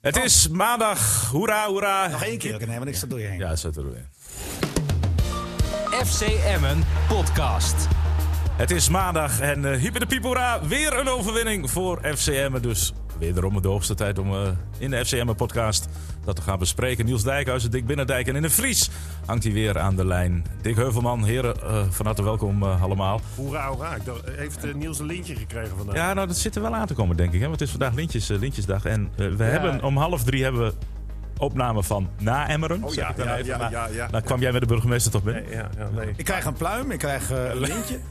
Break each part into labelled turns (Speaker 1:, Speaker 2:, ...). Speaker 1: Het is maandag. Hoera, hoera.
Speaker 2: Nog één keer, oké, nee, want ik sta door je heen.
Speaker 1: Ja, zet er weer.
Speaker 3: FC Emmen podcast.
Speaker 1: Het is maandag en eh hyper de piep, hoera. Weer een overwinning voor FCM. Dus wederom de hoogste tijd om eh, in de FCM podcast dat te gaan bespreken. Niels Dijkhuizen, Dick Binnendijk en in de Vries hangt hij weer aan de lijn. Dick Heuvelman, heren, eh, van harte welkom eh, allemaal.
Speaker 4: Hoera, hoera. Ik dacht, heeft eh, Niels een lintje gekregen vandaag?
Speaker 1: Ja, nou, dat zit er wel aan te komen, denk ik. Hè? Want het is vandaag lintjes, eh, Lintjesdag. En eh, we hebben om half drie hebben we opname van na Emmeren.
Speaker 4: Oh
Speaker 1: zeg
Speaker 4: ja,
Speaker 1: ik dan
Speaker 4: ja,
Speaker 1: even.
Speaker 4: ja,
Speaker 1: Maar
Speaker 4: ja, ja.
Speaker 1: Dan kwam jij met de burgemeester toch binnen.
Speaker 4: Nee, ja, ja, nee.
Speaker 2: Ik krijg een pluim, ik krijg eh, een lintje.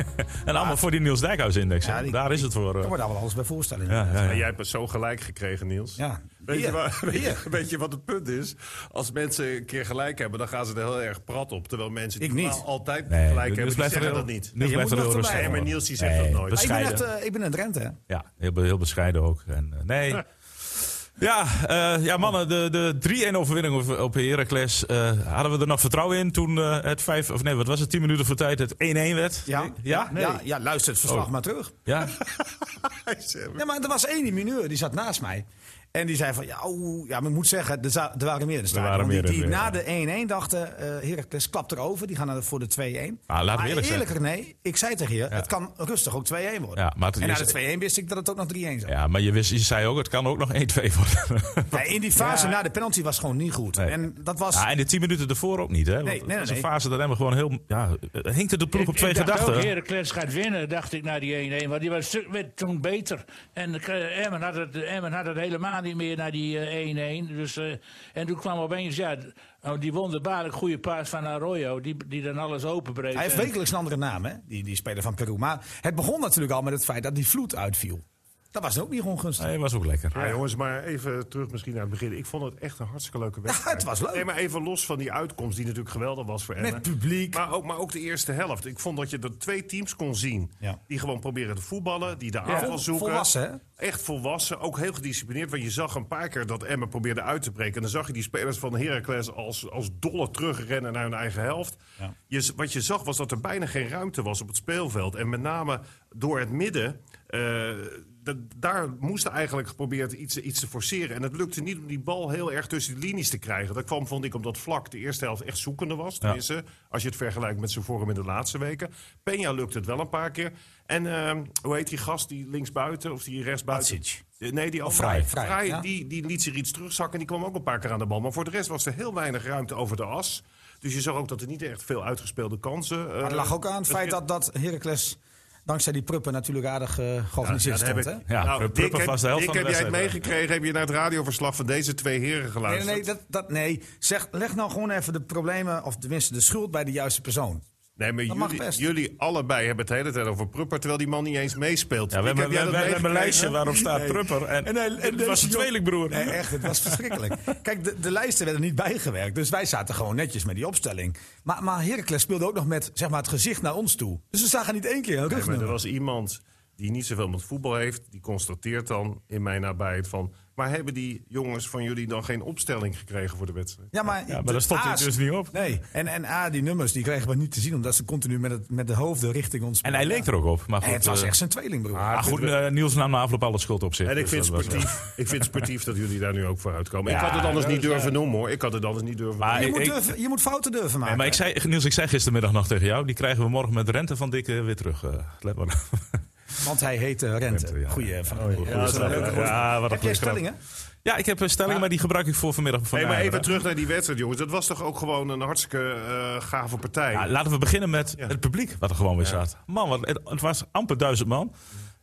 Speaker 1: En allemaal voor die Niels Dijkhuis-index. hè?
Speaker 2: Ja, die-
Speaker 1: Daar is het voor.
Speaker 2: Ik
Speaker 1: eh.
Speaker 2: word daar wel alles bij voorstellen.
Speaker 1: Ja,
Speaker 2: inderdaad.
Speaker 1: ja, ja.
Speaker 4: En jij hebt het zo gelijk gekregen, Niels.
Speaker 2: Ja.
Speaker 4: Weet, je
Speaker 2: Hier.
Speaker 4: waar, weet, je, weet je wat het punt is? Als mensen een keer gelijk hebben, dan gaan ze er heel erg prat op. Terwijl mensen die
Speaker 2: Ik niet.
Speaker 4: normaal altijd
Speaker 1: Nee,
Speaker 4: gelijk
Speaker 1: Niels
Speaker 4: hebben, die
Speaker 1: blijft er
Speaker 4: zeggen
Speaker 1: heel-
Speaker 4: dat niet.
Speaker 1: Niels
Speaker 2: je
Speaker 1: blijft
Speaker 2: moet
Speaker 1: er
Speaker 2: er
Speaker 1: heel
Speaker 2: nog
Speaker 1: rustig
Speaker 2: bij.
Speaker 1: over.
Speaker 4: Nee, maar Niels die zegt dat nooit.
Speaker 2: Maar ik, ben
Speaker 1: bescheiden.
Speaker 2: net, eh, ik ben in Drenthe, hè?
Speaker 1: Ja, heel, be- heel bescheiden ook. En, eh, nee. Ja, eh, ja, mannen, de, de 3-1 overwinning op, op Heracles. eh, hadden we er nog vertrouwen in toen eh, het 5, of nee, wat was het, 10 minuten voor tijd het 1-1 werd?
Speaker 2: Ja,
Speaker 1: Ja?
Speaker 2: ja, ja, luister het verslag
Speaker 1: Oh.
Speaker 2: maar terug.
Speaker 1: Ja?
Speaker 4: Hij zegt-
Speaker 2: Ja, maar er was één die mineur, die zat naast mij. En die zei van, ja, oeh, ja maar ik moet zeggen, er, za- er waren meer in het stadion.
Speaker 1: waren
Speaker 2: Want
Speaker 1: meer
Speaker 2: die die
Speaker 1: in, ja.
Speaker 2: na de 1-1 dachten, eh Heracles klapt erover. Die gaan naar de- voor de 2-1.
Speaker 1: Ah, laten we
Speaker 2: maar
Speaker 1: eerlijk zijn.
Speaker 2: nee, ik zei tegen je, het kan rustig ook 2-1 worden.
Speaker 1: Ja, maar het
Speaker 2: en na
Speaker 1: is-
Speaker 2: de 2-1 wist ik dat het ook nog 3-1 zou worden.
Speaker 1: ja, maar je, wist, je zei ook, het kan ook nog 1-2 worden.
Speaker 2: Ja, in die fase na de penalty was gewoon niet goed.
Speaker 1: Nee.
Speaker 2: En dat was...
Speaker 1: ja, en de 10 minuten ervoor ook niet, hè? Want
Speaker 2: Nee,
Speaker 1: het
Speaker 2: nee,
Speaker 1: was
Speaker 2: nee.
Speaker 1: een fase dat hebben we gewoon heel... Ja, eh, hinkte de ploeg op twee
Speaker 5: ik dacht
Speaker 1: gedachten.
Speaker 5: ook, Heracles gaat winnen, dacht ik, na die 1-1. Want die was, een stuk- werd toen beter. En eh, Emmen had, het, Emmen had het helemaal niet meer na die eh, 1-1. Dus, eh, en toen kwam opeens, ja, d- oh, die wonderbaarlijk goede paas van Arroyo. Die, die dan alles openbreekt.
Speaker 2: Hij heeft
Speaker 1: eh,
Speaker 5: En-
Speaker 2: wekelijks een andere naam, hè? Die, die speler van Peru. Maar het begon natuurlijk al met het feit dat die vloed uitviel. Dat was ook niet ongunstig.
Speaker 1: Nee, was ook lekker.
Speaker 4: Ja, jongens, maar even terug misschien naar het begin. Ik vond het echt een hartstikke leuke wedstrijd.
Speaker 2: het was leuk.
Speaker 4: Nee, maar even los van die uitkomst die natuurlijk geweldig was voor Emmen.
Speaker 2: publiek.
Speaker 4: Maar ook, maar ook de eerste helft. Ik vond dat je er twee teams kon zien.
Speaker 2: Ja.
Speaker 4: Die gewoon proberen te voetballen, die de aanval
Speaker 2: Vol-
Speaker 4: zoeken.
Speaker 2: volwassen,
Speaker 4: Echt volwassen, ook heel gedisciplineerd. Want je zag een paar keer dat Emmen probeerde uit te breken. En dan zag je die spelers van Heracles als, als dolle terugrennen naar hun eigen helft. Je z- wat je zag was dat er bijna geen ruimte was op het speelveld. En met name door het midden... eh, dat- daar moest eigenlijk geprobeerd iets, iets te forceren. En het lukte niet om die bal heel erg tussen de linies te krijgen. Dat kwam, vond ik, omdat Vlak de eerste helft echt zoekende was. Tenminste, als je het vergelijkt met zijn vorm in de laatste weken. Peña lukte het wel een paar keer. En ehm, hoe heet die gast die linksbuiten of die rechtsbuiten?
Speaker 2: Matsic.
Speaker 4: Eh, Nee, die andere.
Speaker 1: Vrij.
Speaker 2: Vrij,
Speaker 4: Vrij,
Speaker 2: ja.
Speaker 4: die, die liet zich iets terugzakken. En die kwam ook een paar keer aan de bal. Maar voor de rest was er heel weinig ruimte over de as. Dus je zag ook dat er niet echt veel uitgespeelde kansen... eh,
Speaker 2: Maar het lag ook aan het feit dat, dat Heracles dankzij die pruppen natuurlijk aardig eh georganiseerd
Speaker 4: Ja, dat heb
Speaker 2: stond. Hè?
Speaker 4: ik-
Speaker 1: Ja, Pruppen
Speaker 4: Nou, Dick, heb-
Speaker 1: was de helft
Speaker 4: Dick,
Speaker 1: van de
Speaker 4: heb jij het
Speaker 1: wedstrijd, hè?
Speaker 4: meegekregen? Heb je naar het radioverslag van deze twee heren
Speaker 2: Nee,
Speaker 4: geluisterd?
Speaker 2: nee, nee, dat, dat, nee. Zeg, leg nou gewoon even de problemen, of tenminste de schuld bij de juiste persoon.
Speaker 4: Nee, maar
Speaker 2: Dat mag
Speaker 4: jullie,
Speaker 2: best.
Speaker 4: jullie allebei hebben het de hele tijd over Prupper... terwijl die man niet eens meespeelt.
Speaker 1: Ja, we
Speaker 4: Ik
Speaker 1: hebben,
Speaker 4: heb
Speaker 1: we,
Speaker 4: jij
Speaker 1: we
Speaker 4: dat
Speaker 1: hebben een lijstje
Speaker 4: meegekregen?
Speaker 1: waarop staat Prupper. En, en, het was een tweelingbroer.
Speaker 2: Nee, echt, het was verschrikkelijk. Kijk, de, de lijsten werden niet bijgewerkt. Dus wij zaten gewoon netjes met die opstelling. Maar, maar Heracles speelde ook nog met zeg maar, het gezicht naar ons toe. Dus we zagen niet één keer een
Speaker 4: Nee, maar
Speaker 2: rugnummer.
Speaker 4: er was iemand die niet zoveel met voetbal heeft... die constateert dan in mijn nabijheid van... waar hebben die jongens van jullie dan geen opstelling gekregen voor de wedstrijd?
Speaker 2: Ja, maar,
Speaker 1: Ja, maar
Speaker 2: de
Speaker 1: daar stond hij
Speaker 2: A's-
Speaker 1: dus niet op.
Speaker 2: Nee, en, en A, die nummers die kregen we niet te zien... omdat ze continu met, het, met de hoofden richting ons...
Speaker 1: En hij leek er ook op. Maar goed,
Speaker 2: Nee, het was
Speaker 1: eh,
Speaker 2: echt zijn tweelingbroer.
Speaker 1: ah, goed eh, Niels nam na afloop alle schuld op zich.
Speaker 4: eh, En ik
Speaker 1: Dus
Speaker 4: vind,
Speaker 1: dat was wel-
Speaker 4: sportief, ik vind sportief dat jullie daar nu ook voor uitkomen. ik
Speaker 1: Ja,
Speaker 4: had het anders
Speaker 1: dat
Speaker 4: niet durven noemen, hoor. Ik had het anders niet durven
Speaker 1: Maar
Speaker 4: noemen.
Speaker 2: je, moet
Speaker 1: ik-
Speaker 2: durven- je moet fouten durven maken.
Speaker 1: Ah, Maar ik zei, Niels, ik zei gistermiddag nog tegen jou... die krijgen we morgen met de rente van dikke weer terug. eh, let maar op.
Speaker 2: Want hij heette Rente.
Speaker 1: Rente, ja.
Speaker 2: Goeie eh, van.
Speaker 1: Ja, dat is wel leuk. Ja, wat een
Speaker 2: Heb jij
Speaker 1: goede grap.
Speaker 2: stellingen?
Speaker 1: Ja, ik heb een stelling, maar die gebruik ik voor vanmiddag. Voor
Speaker 4: Nee, maar
Speaker 1: Nijmegen.
Speaker 4: even terug naar die wedstrijd, jongens. Dat was toch ook gewoon een hartstikke eh, gave partij.
Speaker 1: Ja, laten we beginnen met het publiek wat er gewoon weer zat. Man, wat, het, het was amper duizend man.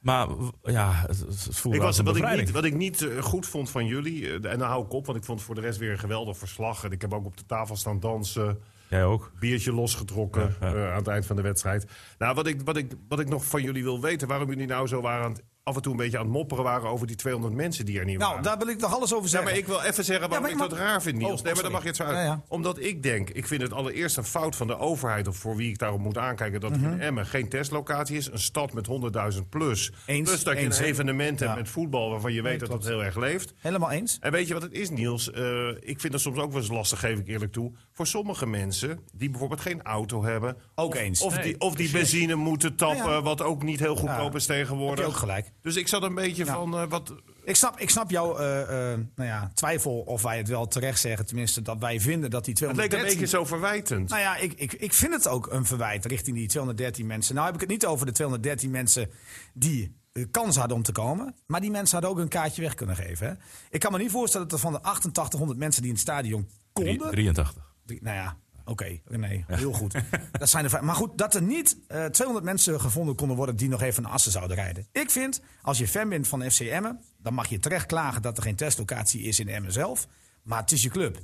Speaker 1: Maar w- ja, het, het voelde
Speaker 4: Ik
Speaker 1: als
Speaker 4: was,
Speaker 1: een
Speaker 4: wat ik
Speaker 1: bevrijding.
Speaker 4: niet, wat ik niet eh, goed vond van jullie, eh, en dan hou ik op, want ik vond het voor de rest weer een geweldig verslag. En ik heb ook op de tafel staan dansen,
Speaker 1: Jij ook?
Speaker 4: biertje losgetrokken
Speaker 1: Ja, ja.
Speaker 4: eh, aan het eind van de wedstrijd. Nou, wat ik, wat, ik, wat ik nog van jullie wil weten, waarom jullie nou zo waren, aan het- af en toe een beetje aan het mopperen waren over die 200 mensen die er niet
Speaker 2: Nou,
Speaker 4: waren.
Speaker 2: daar wil ik nog alles over
Speaker 4: Ja,
Speaker 2: zeggen.
Speaker 4: maar ik wil even zeggen waarom
Speaker 2: Ja, maar
Speaker 4: ik
Speaker 2: je
Speaker 4: dat
Speaker 2: mag-
Speaker 4: raar vind, Niels.
Speaker 2: Oh,
Speaker 4: nee, maar
Speaker 2: sorry.
Speaker 4: dan mag je het zo uit.
Speaker 2: Ja, ja.
Speaker 4: Omdat ik denk, ik vind het allereerst een fout van de overheid... of voor wie ik daarom moet aankijken, dat
Speaker 2: Mhm.
Speaker 4: er in Emmen geen testlocatie is. Een stad met 100.000 plus.
Speaker 2: Eens,
Speaker 4: plus dat je
Speaker 2: eens,
Speaker 4: een
Speaker 2: hè?
Speaker 4: evenement hebt
Speaker 2: Ja.
Speaker 4: met voetbal... waarvan je weet dat dat heel erg leeft.
Speaker 2: Helemaal eens.
Speaker 4: En weet je wat het is, Niels? Eh, ik vind het soms ook wel eens lastig, geef ik eerlijk toe. Voor sommige mensen die bijvoorbeeld geen auto hebben.
Speaker 2: Ook
Speaker 4: of,
Speaker 2: eens.
Speaker 4: Of, die, of die benzine moeten tappen,
Speaker 2: Ja, ja.
Speaker 4: wat ook niet heel goedkoop
Speaker 2: Ja,
Speaker 4: is tegenwoordig.
Speaker 2: heb je ook gelijk.
Speaker 4: Dus ik zat een beetje van, eh, wat,
Speaker 2: Ik snap, ik snap jouw eh, eh, nou ja, twijfel of wij het wel terecht zeggen. Tenminste, dat wij vinden dat die
Speaker 4: Het leek een
Speaker 2: 213...
Speaker 4: beetje zo verwijtend.
Speaker 2: Nou ja, ik, ik, ik vind het ook een verwijt richting die 213 mensen. Nou heb ik het niet over de 213 mensen die de kans hadden om te komen. Maar die mensen hadden ook een kaartje weg kunnen geven. Hè? Ik kan me niet voorstellen dat er van de 8800 mensen die in het stadion
Speaker 1: Drie-
Speaker 2: konden...
Speaker 1: 83.
Speaker 2: Drie- nou ja, oké. Nee, heel goed. Dat zijn de vijf- maar goed, dat er niet eh, 200 mensen gevonden konden worden die nog even naar Assen zouden rijden. Ik vind, als je fan bent van FC Emmen, dan mag je terecht klagen dat er geen testlocatie is in Emmen zelf. Maar het is je club.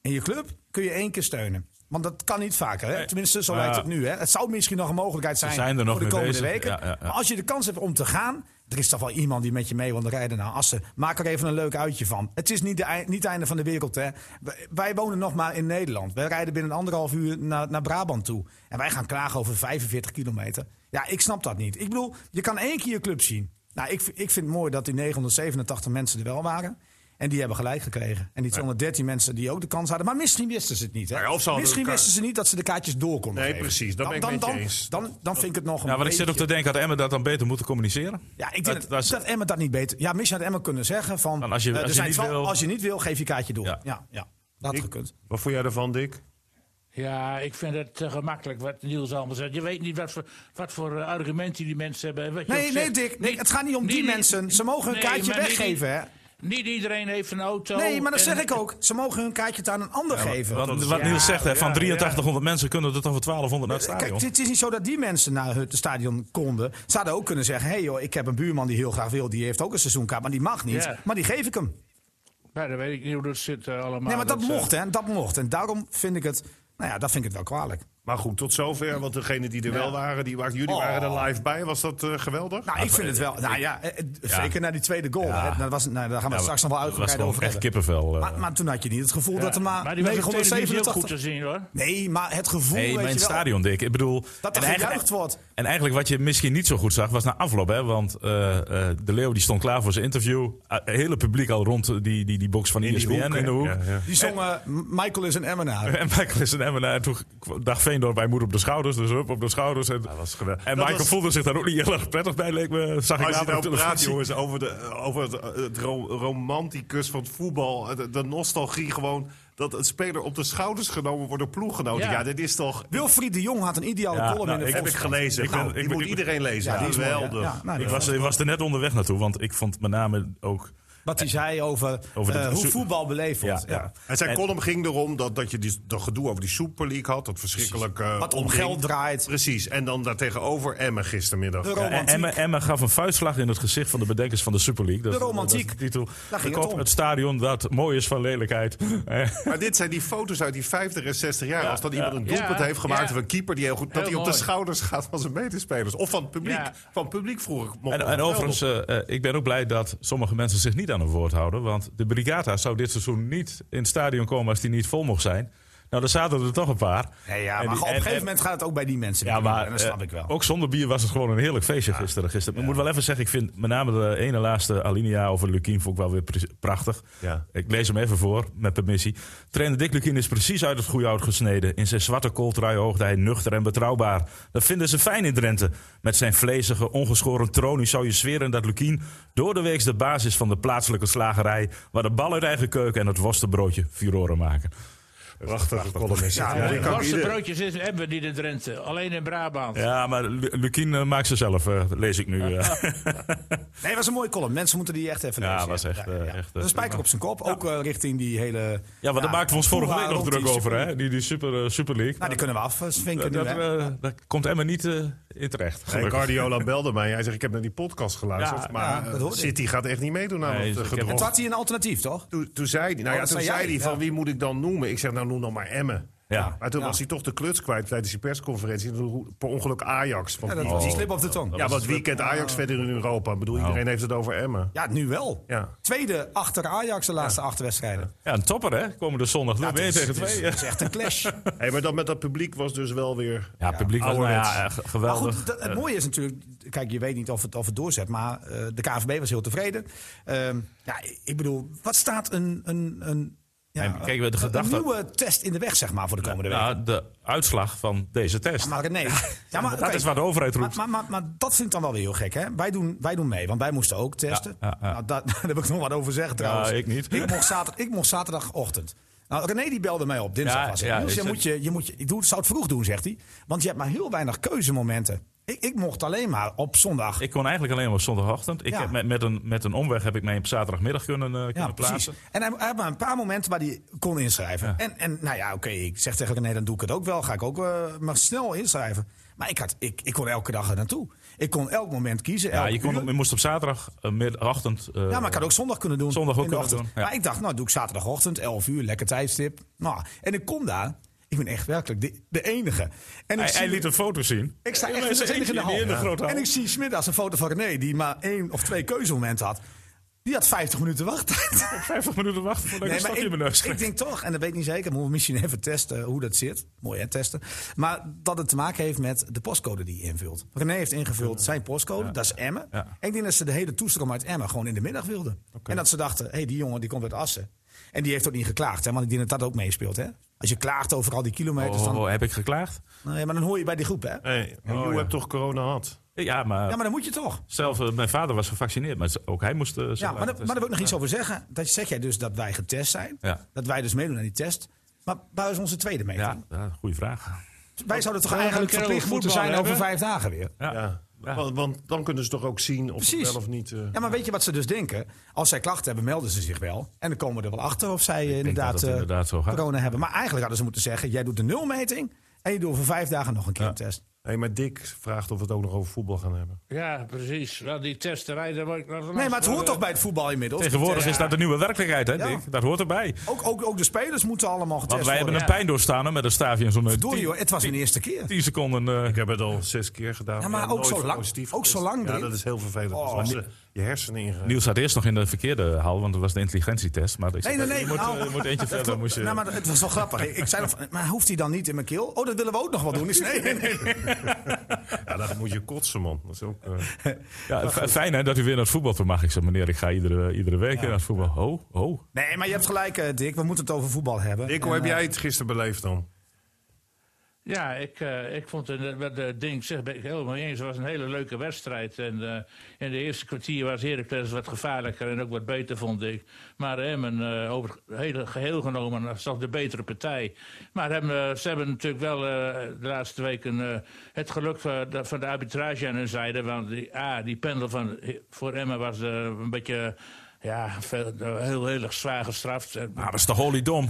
Speaker 2: En je club kun je één keer steunen. Want dat kan niet vaker, hè? tenminste zo
Speaker 1: Maar
Speaker 2: lijkt
Speaker 1: Nou ja.
Speaker 2: het nu. Hè? Het zou misschien nog een mogelijkheid zijn,
Speaker 1: zijn er nog
Speaker 2: voor de
Speaker 1: mee
Speaker 2: komende
Speaker 1: bezig.
Speaker 2: weken.
Speaker 1: Ja, ja, ja.
Speaker 2: Maar als je de kans hebt om te gaan, er is toch wel iemand die met je mee wil rijden naar Assen. Maak er even een leuk uitje van. Het is niet, de, ei- niet het einde van de wereld. Hè. Wij- Wij wonen nog maar in Nederland. Wij rijden binnen anderhalf uur naar, naar Brabant toe. En wij gaan klagen over 45 kilometer. Ja, ik snap dat niet. Ik bedoel, je kan één keer je club zien. Nou, ik, v- ik vind het mooi dat die 987 mensen er wel waren. En die hebben gelijk gekregen. En die 213 mensen die ook de kans hadden. Maar misschien wisten ze het niet. Hè?
Speaker 4: Nou Ja, of ze hadden
Speaker 2: misschien
Speaker 4: elkaar-
Speaker 2: wisten ze niet dat ze de kaartjes door konden
Speaker 4: Nee,
Speaker 2: geven.
Speaker 4: precies. Dat ben ik met je
Speaker 2: dan,
Speaker 4: eens.
Speaker 2: dan, dan vind ik het nog een
Speaker 1: Ja, want ik zit ook
Speaker 2: beetje-
Speaker 1: te denken dat Emmen dat dan beter moeten communiceren.
Speaker 2: ja, ik
Speaker 1: Dat-
Speaker 2: denk dat,
Speaker 1: dat is-
Speaker 2: dat, Emma dat niet beter. Ja, misschien had Emma kunnen zeggen van.
Speaker 1: Van als je-
Speaker 2: eh, er
Speaker 1: als je
Speaker 2: zijn
Speaker 1: niet
Speaker 2: twaalf-
Speaker 1: wil-
Speaker 2: als je niet wil, geef je kaartje door.
Speaker 1: Ja.
Speaker 2: Ja, ja, dat had gekund.
Speaker 4: Wat vond jij ervan, Dick?
Speaker 5: Ja, ik vind het te gemakkelijk wat Niels allemaal zegt. Je weet niet wat voor, wat voor eh, argumenten die mensen hebben. en wat je
Speaker 2: Nee,
Speaker 5: ook
Speaker 2: nee,
Speaker 5: zegt.
Speaker 2: Dick. nee,
Speaker 5: Niet-
Speaker 2: het gaat niet om die mensen. Ze mogen hun
Speaker 5: nee,
Speaker 2: kaartje
Speaker 5: maar niet-
Speaker 2: weggeven, hè?
Speaker 5: Niet iedereen heeft een auto.
Speaker 2: Nee, maar dat
Speaker 5: en-
Speaker 2: zeg ik ook. Ze mogen hun kaartje aan een ander geven.
Speaker 1: Want wat
Speaker 5: ja,
Speaker 1: Niels zegt, hè, van
Speaker 5: ja,
Speaker 1: 8300 mensen kunnen er toch wel 1200 naar het
Speaker 2: Eh, Kijk,
Speaker 1: stadion.
Speaker 2: het is niet zo dat die mensen naar het stadion konden. Ze hadden ook kunnen zeggen: hé hey joh, ik heb een buurman die heel graag wil. Die heeft ook een seizoenkaart, maar die mag niet.
Speaker 5: Ja.
Speaker 2: Maar die geef ik hem.
Speaker 5: Ja, dat weet ik niet hoe dat zit eh, allemaal.
Speaker 2: Nee, maar dat,
Speaker 5: eh,
Speaker 2: mocht, hè? Dat mocht. En daarom vind ik het. Nou ja, dat vind ik het wel kwalijk.
Speaker 4: Maar goed, tot zover. Want degenen die er wel waren, die waren, jullie
Speaker 2: Oh.
Speaker 4: waren er live bij. Was dat eh, geweldig?
Speaker 2: Nou, ik vind het wel. Nou ja, eh, eh, zeker na die tweede goal. hè. Nou, dat was, nou, daar gaan we het straks nog wel
Speaker 1: Dat was
Speaker 2: uitgebreid
Speaker 1: gewoon
Speaker 2: over
Speaker 1: echt
Speaker 2: hebben.
Speaker 1: kippenvel. eh.
Speaker 2: Maar, maar toen had je niet het gevoel
Speaker 5: ja,
Speaker 2: dat er maar,
Speaker 5: maar die was op televisie ook
Speaker 2: 987...
Speaker 5: goed te zien, hoor.
Speaker 2: Nee, maar het gevoel,
Speaker 1: Nee,
Speaker 2: weet
Speaker 1: maar in
Speaker 2: je
Speaker 1: het
Speaker 2: wel,
Speaker 1: stadion, Dick. Ik bedoel...
Speaker 2: dat
Speaker 1: en
Speaker 2: er
Speaker 1: eigenlijk-
Speaker 2: gejuicht wordt.
Speaker 1: En eigenlijk wat je misschien niet zo goed zag, was na afloop. Hè? Want eh, eh, de Leeuw die stond klaar voor zijn interview. Eh, het hele publiek al rond eh, die, die, die box van E
Speaker 4: In die
Speaker 1: ESPN
Speaker 4: hoek, hè?
Speaker 1: in de hoek.
Speaker 4: Ja, ja.
Speaker 2: Die zongen M- Michael is een Emmenaar.
Speaker 1: En Michael is een Emmenaar. En toen dacht Veendorp, hij moet op de schouders. Dus hup, op de schouders. En,
Speaker 4: was geweldig.
Speaker 1: en
Speaker 4: Dat
Speaker 1: Michael
Speaker 4: was-
Speaker 1: voelde zich daar ook niet heel erg prettig bij, leek me. Zag ik
Speaker 4: Als je
Speaker 1: later op
Speaker 4: nou praat,
Speaker 1: televisie.
Speaker 4: jongens, over, de, eh, over het, eh, het ro- romanticus van het voetbal. eh, De, de nostalgie gewoon. Dat een speler op de schouders genomen wordt door ploeggenoten. Ja,
Speaker 5: Ja.
Speaker 4: dit is toch...
Speaker 2: Wilfried de Jong had een ideale
Speaker 1: Ja,
Speaker 2: column
Speaker 1: nou,
Speaker 2: in de
Speaker 1: ik
Speaker 4: Heb ik
Speaker 2: Volkskrant.
Speaker 4: gelezen.
Speaker 1: Ik ben-
Speaker 4: Nou,
Speaker 1: ik
Speaker 4: die
Speaker 1: ben-
Speaker 4: moet
Speaker 1: ik-
Speaker 4: iedereen lezen.
Speaker 2: Ja, die is mooi, hè?
Speaker 4: Geweldig.
Speaker 2: Ja, nou,
Speaker 1: Ik
Speaker 2: dat-
Speaker 1: was, ik was er net onderweg naartoe, want ik vond met name ook...
Speaker 2: Wat hij zei over,
Speaker 1: Over de-
Speaker 2: eh, hoe voetbal beleefd wordt.
Speaker 1: Ja, ja.
Speaker 2: Ja.
Speaker 4: En zijn
Speaker 1: En-
Speaker 4: column ging erom dat, dat je die, dat gedoe over die Super League had. Dat verschrikkelijk... eh,
Speaker 2: Wat om
Speaker 4: omging.
Speaker 2: geld draait.
Speaker 4: Precies. En dan daartegenover Emmen gistermiddag.
Speaker 2: De
Speaker 1: Ja, en
Speaker 2: romantiek.
Speaker 1: Emma, Emma gaf een vuistslag in het gezicht van de bedenkers van de Super League. Dat,
Speaker 2: De romantiek.
Speaker 1: dat is de titel.
Speaker 2: Daar
Speaker 1: De
Speaker 2: ging
Speaker 1: kop,
Speaker 2: het om.
Speaker 1: het stadion dat mooi is van lelijkheid. Eh,
Speaker 4: Maar dit zijn die foto's uit die 50 en 60 jaar. Als dan iemand een doelpunt
Speaker 5: Ja,
Speaker 4: heeft gemaakt
Speaker 5: ja.
Speaker 4: of een keeper die heel goed... dat
Speaker 5: Heel
Speaker 4: hij op de
Speaker 5: mooi.
Speaker 4: schouders gaat van zijn medespelers. Of van het publiek.
Speaker 5: Ja.
Speaker 4: Van het publiek vroeger. mocht
Speaker 1: En,
Speaker 4: nog
Speaker 1: en
Speaker 4: wel
Speaker 1: overigens, eh, eh, ik ben ook blij dat sommige mensen zich niet aan het woord houden. Want de Brigata zou dit seizoen niet in het stadion komen als die niet vol mocht zijn. Nou, er zaten er toch een paar.
Speaker 2: Nee, ja,
Speaker 1: En
Speaker 2: maar
Speaker 1: die-
Speaker 2: op
Speaker 1: en-
Speaker 2: een gegeven
Speaker 1: en-
Speaker 2: moment gaat het ook bij die mensen.
Speaker 1: Ja,
Speaker 2: beginnen.
Speaker 1: maar
Speaker 2: En dat snap ik wel.
Speaker 1: eh, ook zonder bier was het gewoon een heerlijk feestje gisteren. gisteren. Ik moet wel even zeggen, ik vind met name de ene laatste alinea over Lukien vond ik wel weer pre- prachtig.
Speaker 4: Ja.
Speaker 1: Ik lees hem even voor, met permissie. Trainer Dick Lukien is precies uit het goede hout gesneden. In zijn zwarte kooltrui hoogde hij nuchter en betrouwbaar. Dat vinden ze fijn in Drenthe. Met zijn vlezige, ongeschoren tronie zou je zweren dat Lukien door de week de basis van de plaatselijke slagerij, waar de bal uit eigen keuken en het worstenbroodje furoren maken.
Speaker 4: Prachtige columnist. Ja,
Speaker 2: Ja,
Speaker 4: die
Speaker 5: De
Speaker 4: kan
Speaker 5: Kortste
Speaker 4: ieder-
Speaker 5: broodjes is, hebben we niet in Drenthe. Alleen in Brabant.
Speaker 1: Ja, maar Lu- Lukien eh, maakt ze zelf, eh, lees ik nu. eh.
Speaker 2: Nee, was een mooie column. Mensen moeten die echt even
Speaker 1: Ja,
Speaker 2: lezen.
Speaker 1: was echt, eh, echt, eh,
Speaker 2: een spijker
Speaker 1: prima.
Speaker 2: op zijn kop. Ook eh, richting die hele...
Speaker 1: Ja, want daar maakten we ons vorige
Speaker 2: hoera
Speaker 1: week nog
Speaker 2: rond
Speaker 1: druk
Speaker 2: die
Speaker 1: over,
Speaker 2: Super-
Speaker 1: hè? Die, die super, eh, Super League.
Speaker 2: Nou, die kunnen we afvinken nu,
Speaker 1: dat,
Speaker 2: hè?
Speaker 1: eh, daar komt Emma niet eh, in terecht.
Speaker 4: Nee,
Speaker 1: gelukkig.
Speaker 4: Guardiola belde mij. Hij zegt, ik heb naar die podcast geluisterd.
Speaker 1: Ja,
Speaker 4: maar
Speaker 2: ja,
Speaker 4: eh,
Speaker 2: dat hoorde ik.
Speaker 4: City gaat echt niet meedoen aan
Speaker 1: Nee,
Speaker 4: het
Speaker 1: ik
Speaker 4: eh,
Speaker 1: heb- Oh,
Speaker 4: gedrocht.
Speaker 2: En toen had hij een alternatief, toch?
Speaker 4: Toen, toen zei hij, nou ja,
Speaker 2: dat
Speaker 4: toen
Speaker 2: zei
Speaker 4: zei
Speaker 2: jij,
Speaker 4: hij van
Speaker 2: ja.
Speaker 4: wie moet ik dan noemen? Ik zeg, nou noem dan maar Emmen.
Speaker 1: Ja.
Speaker 4: Maar toen
Speaker 2: Ja.
Speaker 4: was hij toch de kluts kwijt tijdens die persconferentie. En toen Per ongeluk Ajax. Want
Speaker 2: Ja,
Speaker 1: Oh.
Speaker 2: dat
Speaker 4: ja, die,
Speaker 2: was die slip op de tong.
Speaker 4: ja, want wie kent Ajax
Speaker 1: Ah.
Speaker 4: verder in Europa? Ik bedoel,
Speaker 1: Nou.
Speaker 4: iedereen heeft het over Emmen.
Speaker 2: Ja, nu wel.
Speaker 4: Ja.
Speaker 2: Tweede achter Ajax de laatste acht wedstrijden.
Speaker 1: Ja, een topper, hè? Komende zondag. Ja,
Speaker 2: Dat is-
Speaker 1: tegen
Speaker 2: dat is-
Speaker 1: twee.
Speaker 2: Dat is echt een clash.
Speaker 4: Hey, maar dat met dat publiek was dus wel weer...
Speaker 1: Ja, publiek was nou
Speaker 4: ouderwets.
Speaker 1: ja, eh, ge-
Speaker 2: Maar
Speaker 1: geweldig.
Speaker 2: goed, dat- het mooie is natuurlijk... Kijk, je weet niet of het, of het doorzet, maar eh, de KVB was heel tevreden. Ehm, ja, ik bedoel, wat staat een... een, een
Speaker 1: En kijk, de
Speaker 2: een-
Speaker 1: gedachte-
Speaker 2: Een nieuwe test in de weg, zeg maar, voor de komende week.
Speaker 1: Nou, de uitslag van deze test.
Speaker 2: Maar nee. Ja, maar,
Speaker 1: dat
Speaker 2: oké.
Speaker 1: is waar de overheid
Speaker 2: Maar,
Speaker 1: roept.
Speaker 2: maar, maar, maar dat vind ik dan wel weer heel gek, hè? Wij doen, wij doen mee, want wij moesten ook testen.
Speaker 1: Ja, ja, ja.
Speaker 2: Nou, daar, daar heb ik nog wat over zeggen trouwens.
Speaker 1: Ja, ik niet.
Speaker 2: Ik mocht, zater, ik mocht zaterdagochtend. Nou, René die belde mij op, dinsdag
Speaker 1: Ja,
Speaker 2: was het.
Speaker 1: ja,
Speaker 2: Niels,
Speaker 1: is
Speaker 2: je
Speaker 1: het-
Speaker 2: moet je, je moet je, ik doe, zou het vroeg doen, zegt hij. Want je hebt maar heel weinig keuzemomenten. Ik, ik mocht alleen maar op zondag.
Speaker 1: Ik kon eigenlijk alleen maar op zondagochtend. Ik
Speaker 2: Ja.
Speaker 1: heb met, met, een, met een omweg heb ik mij op zaterdagmiddag kunnen, eh, kunnen plaatsen.
Speaker 2: En hij, hij had maar een paar momenten waar hij kon inschrijven.
Speaker 1: Ja.
Speaker 2: En, en nou ja, oké, ik zeg tegen René, dan doe ik het ook wel. Ga ik ook eh, maar snel inschrijven. Maar ik, had, ik, ik kon elke dag er naartoe. Ik kon elk moment kiezen.
Speaker 1: Ja,
Speaker 2: elk
Speaker 1: je, kon,
Speaker 2: uur.
Speaker 1: je moest op zaterdagochtend. eh,
Speaker 2: Ja, maar ik had ook zondag kunnen doen.
Speaker 1: Zondag ook
Speaker 2: in de
Speaker 1: kunnen
Speaker 2: ochtend.
Speaker 1: doen, ja.
Speaker 2: Maar ik dacht, nou doe ik zaterdagochtend, 11 uur, lekker tijdstip. Nou, en ik kom daar. Ik ben echt werkelijk de, de enige. En ik
Speaker 1: hij,
Speaker 2: zie-
Speaker 1: hij liet een foto zien.
Speaker 2: ik sta
Speaker 1: Ja,
Speaker 2: echt
Speaker 1: maar
Speaker 2: met
Speaker 1: ze
Speaker 2: z'n enige in de
Speaker 1: eentje in de
Speaker 2: hal.
Speaker 1: grote hal.
Speaker 2: En ik zie smiddags een foto van René, die maar één of twee keuzemomenten had. Die had 50 minuten wachttijd.
Speaker 1: 50 minuten wachten voordat ik een stapje in mijn neus
Speaker 2: ik, ik
Speaker 1: kreeg.
Speaker 2: denk toch, en dat weet ik niet zeker, moeten we misschien even testen hoe dat zit. Mooi hè, testen. Maar dat het te maken heeft met de postcode die je invult. René heeft ingevuld zijn postcode, dat is Emmen.
Speaker 1: Ja.
Speaker 2: En ik denk dat ze de hele toestroom uit Emmen gewoon in de middag wilden. En dat ze dachten, hé, hey, die jongen die komt uit Assen. En die heeft ook niet geklaagd, hè, want ik denk dat dat ook meespeelt. Hè? Als je klaagt over al die kilometers,
Speaker 1: Oh,
Speaker 2: dan,
Speaker 1: heb ik geklaagd?
Speaker 2: nee, maar dan hoor je bij die groep, hè?
Speaker 4: Hey, je hebt toch corona gehad?
Speaker 1: Ja, maar,
Speaker 2: Ja, maar dan moet je toch.
Speaker 1: zelf eh, mijn vader was gevaccineerd, maar ook hij moest. eh, zich
Speaker 2: Ja,
Speaker 1: laten
Speaker 2: maar, daar- maar daar
Speaker 1: testen.
Speaker 2: wil ik nog iets over zeggen. Dat zeg jij dus dat wij getest zijn.
Speaker 1: Ja.
Speaker 2: Dat wij dus meedoen aan die test. Maar waar is onze tweede meting?
Speaker 1: Ja, ja goede vraag.
Speaker 2: Wij zouden toch
Speaker 5: Ja,
Speaker 2: eigenlijk
Speaker 5: dan kunnen we
Speaker 2: verplicht moeten zijn
Speaker 5: voetballen
Speaker 2: over
Speaker 5: hebben.
Speaker 2: vijf dagen weer.
Speaker 1: Ja.
Speaker 4: Ja. Want, want dan kunnen ze toch ook zien of
Speaker 2: Precies.
Speaker 4: het wel of niet... eh,
Speaker 2: Ja, maar weet je wat ze dus denken? Als zij klachten hebben, melden ze zich wel. En dan komen we er wel achter of zij eh,
Speaker 1: denk dat
Speaker 2: inderdaad,
Speaker 1: het
Speaker 2: eh,
Speaker 1: inderdaad zo gaat.
Speaker 2: corona hebben. Maar eigenlijk hadden ze moeten zeggen, jij doet de nulmeting... en je doet over vijf dagen nog een keer een test.
Speaker 4: Hé, maar Dick vraagt of we het ook nog over voetbal gaan hebben.
Speaker 5: Ja, precies. Nou, die testerij, daar word ik nog
Speaker 2: Nee, maar het hoort
Speaker 4: eh,
Speaker 2: toch bij het voetbal inmiddels?
Speaker 1: Tegenwoordig is dat de nieuwe werkelijkheid, hè,
Speaker 2: Ja.
Speaker 1: Dick? Dat hoort erbij.
Speaker 2: Ook, ook, ook de spelers moeten allemaal getest
Speaker 1: Want wij hebben
Speaker 2: worden.
Speaker 1: een pijn doorstaan hè, met een staafje en zo'n eh,
Speaker 2: Door, joh,
Speaker 1: tien-
Speaker 2: het was mijn eerste keer.
Speaker 1: 10 seconden. eh,
Speaker 4: Ik heb het al zes keer gedaan.
Speaker 2: Ja, maar
Speaker 4: en
Speaker 2: ook
Speaker 4: nooit
Speaker 2: zo lang-
Speaker 4: positief
Speaker 2: ook zo
Speaker 4: getest.
Speaker 2: lang
Speaker 4: Ja,
Speaker 2: erin.
Speaker 4: dat is heel vervelend.
Speaker 2: Oh,
Speaker 4: als ze je hersenen ingaan.
Speaker 1: Niels had eerst nog in de verkeerde hal, want dat was de intelligentietest. Maar ik zei,
Speaker 2: Nee, nee, nee,
Speaker 1: Je moet,
Speaker 2: nou,
Speaker 1: eh, je moet eentje
Speaker 2: Dat
Speaker 1: verder.
Speaker 2: klopt.
Speaker 1: Moest je,
Speaker 2: Nou, maar het was wel grappig. Ik ik zei nog, van, maar hoeft hij dan niet in mijn keel? Oh, dat willen we ook nog wel doen. Ik zei, nee, nee, nee.
Speaker 4: Ja, dan moet je kotsen, man. Dat is ook... eh,
Speaker 1: ja, f- fijn hè, dat u weer naar het voetbal toe mag. Ik zeg, meneer, ik ga iedere, iedere week weer naar het voetbal. Ho, ho.
Speaker 2: Nee, maar je hebt gelijk, eh, Dick. We moeten het over voetbal hebben.
Speaker 4: Dick, hoe
Speaker 2: En,
Speaker 4: heb
Speaker 2: eh,
Speaker 4: jij het gisteren beleefd dan?
Speaker 5: Ja, ik, eh, ik vond het, eh, wat eh, Dink zegt, ben ik helemaal eens. Het was een hele leuke wedstrijd. En eh, in de eerste kwartier was Heracles wat gevaarlijker en ook wat beter, vond ik. Maar Emmen, eh, over het hele geheel genomen, was toch de betere partij. Maar hem, eh, ze hebben natuurlijk wel eh, de laatste weken eh, het geluk van de, van de arbitrage aan hun zijde. Want die, ah, die pendel van, voor Emmen was eh, een beetje... Ja, veel, heel, heel erg zwaar gestraft.
Speaker 1: Ah, dat is de holy dom.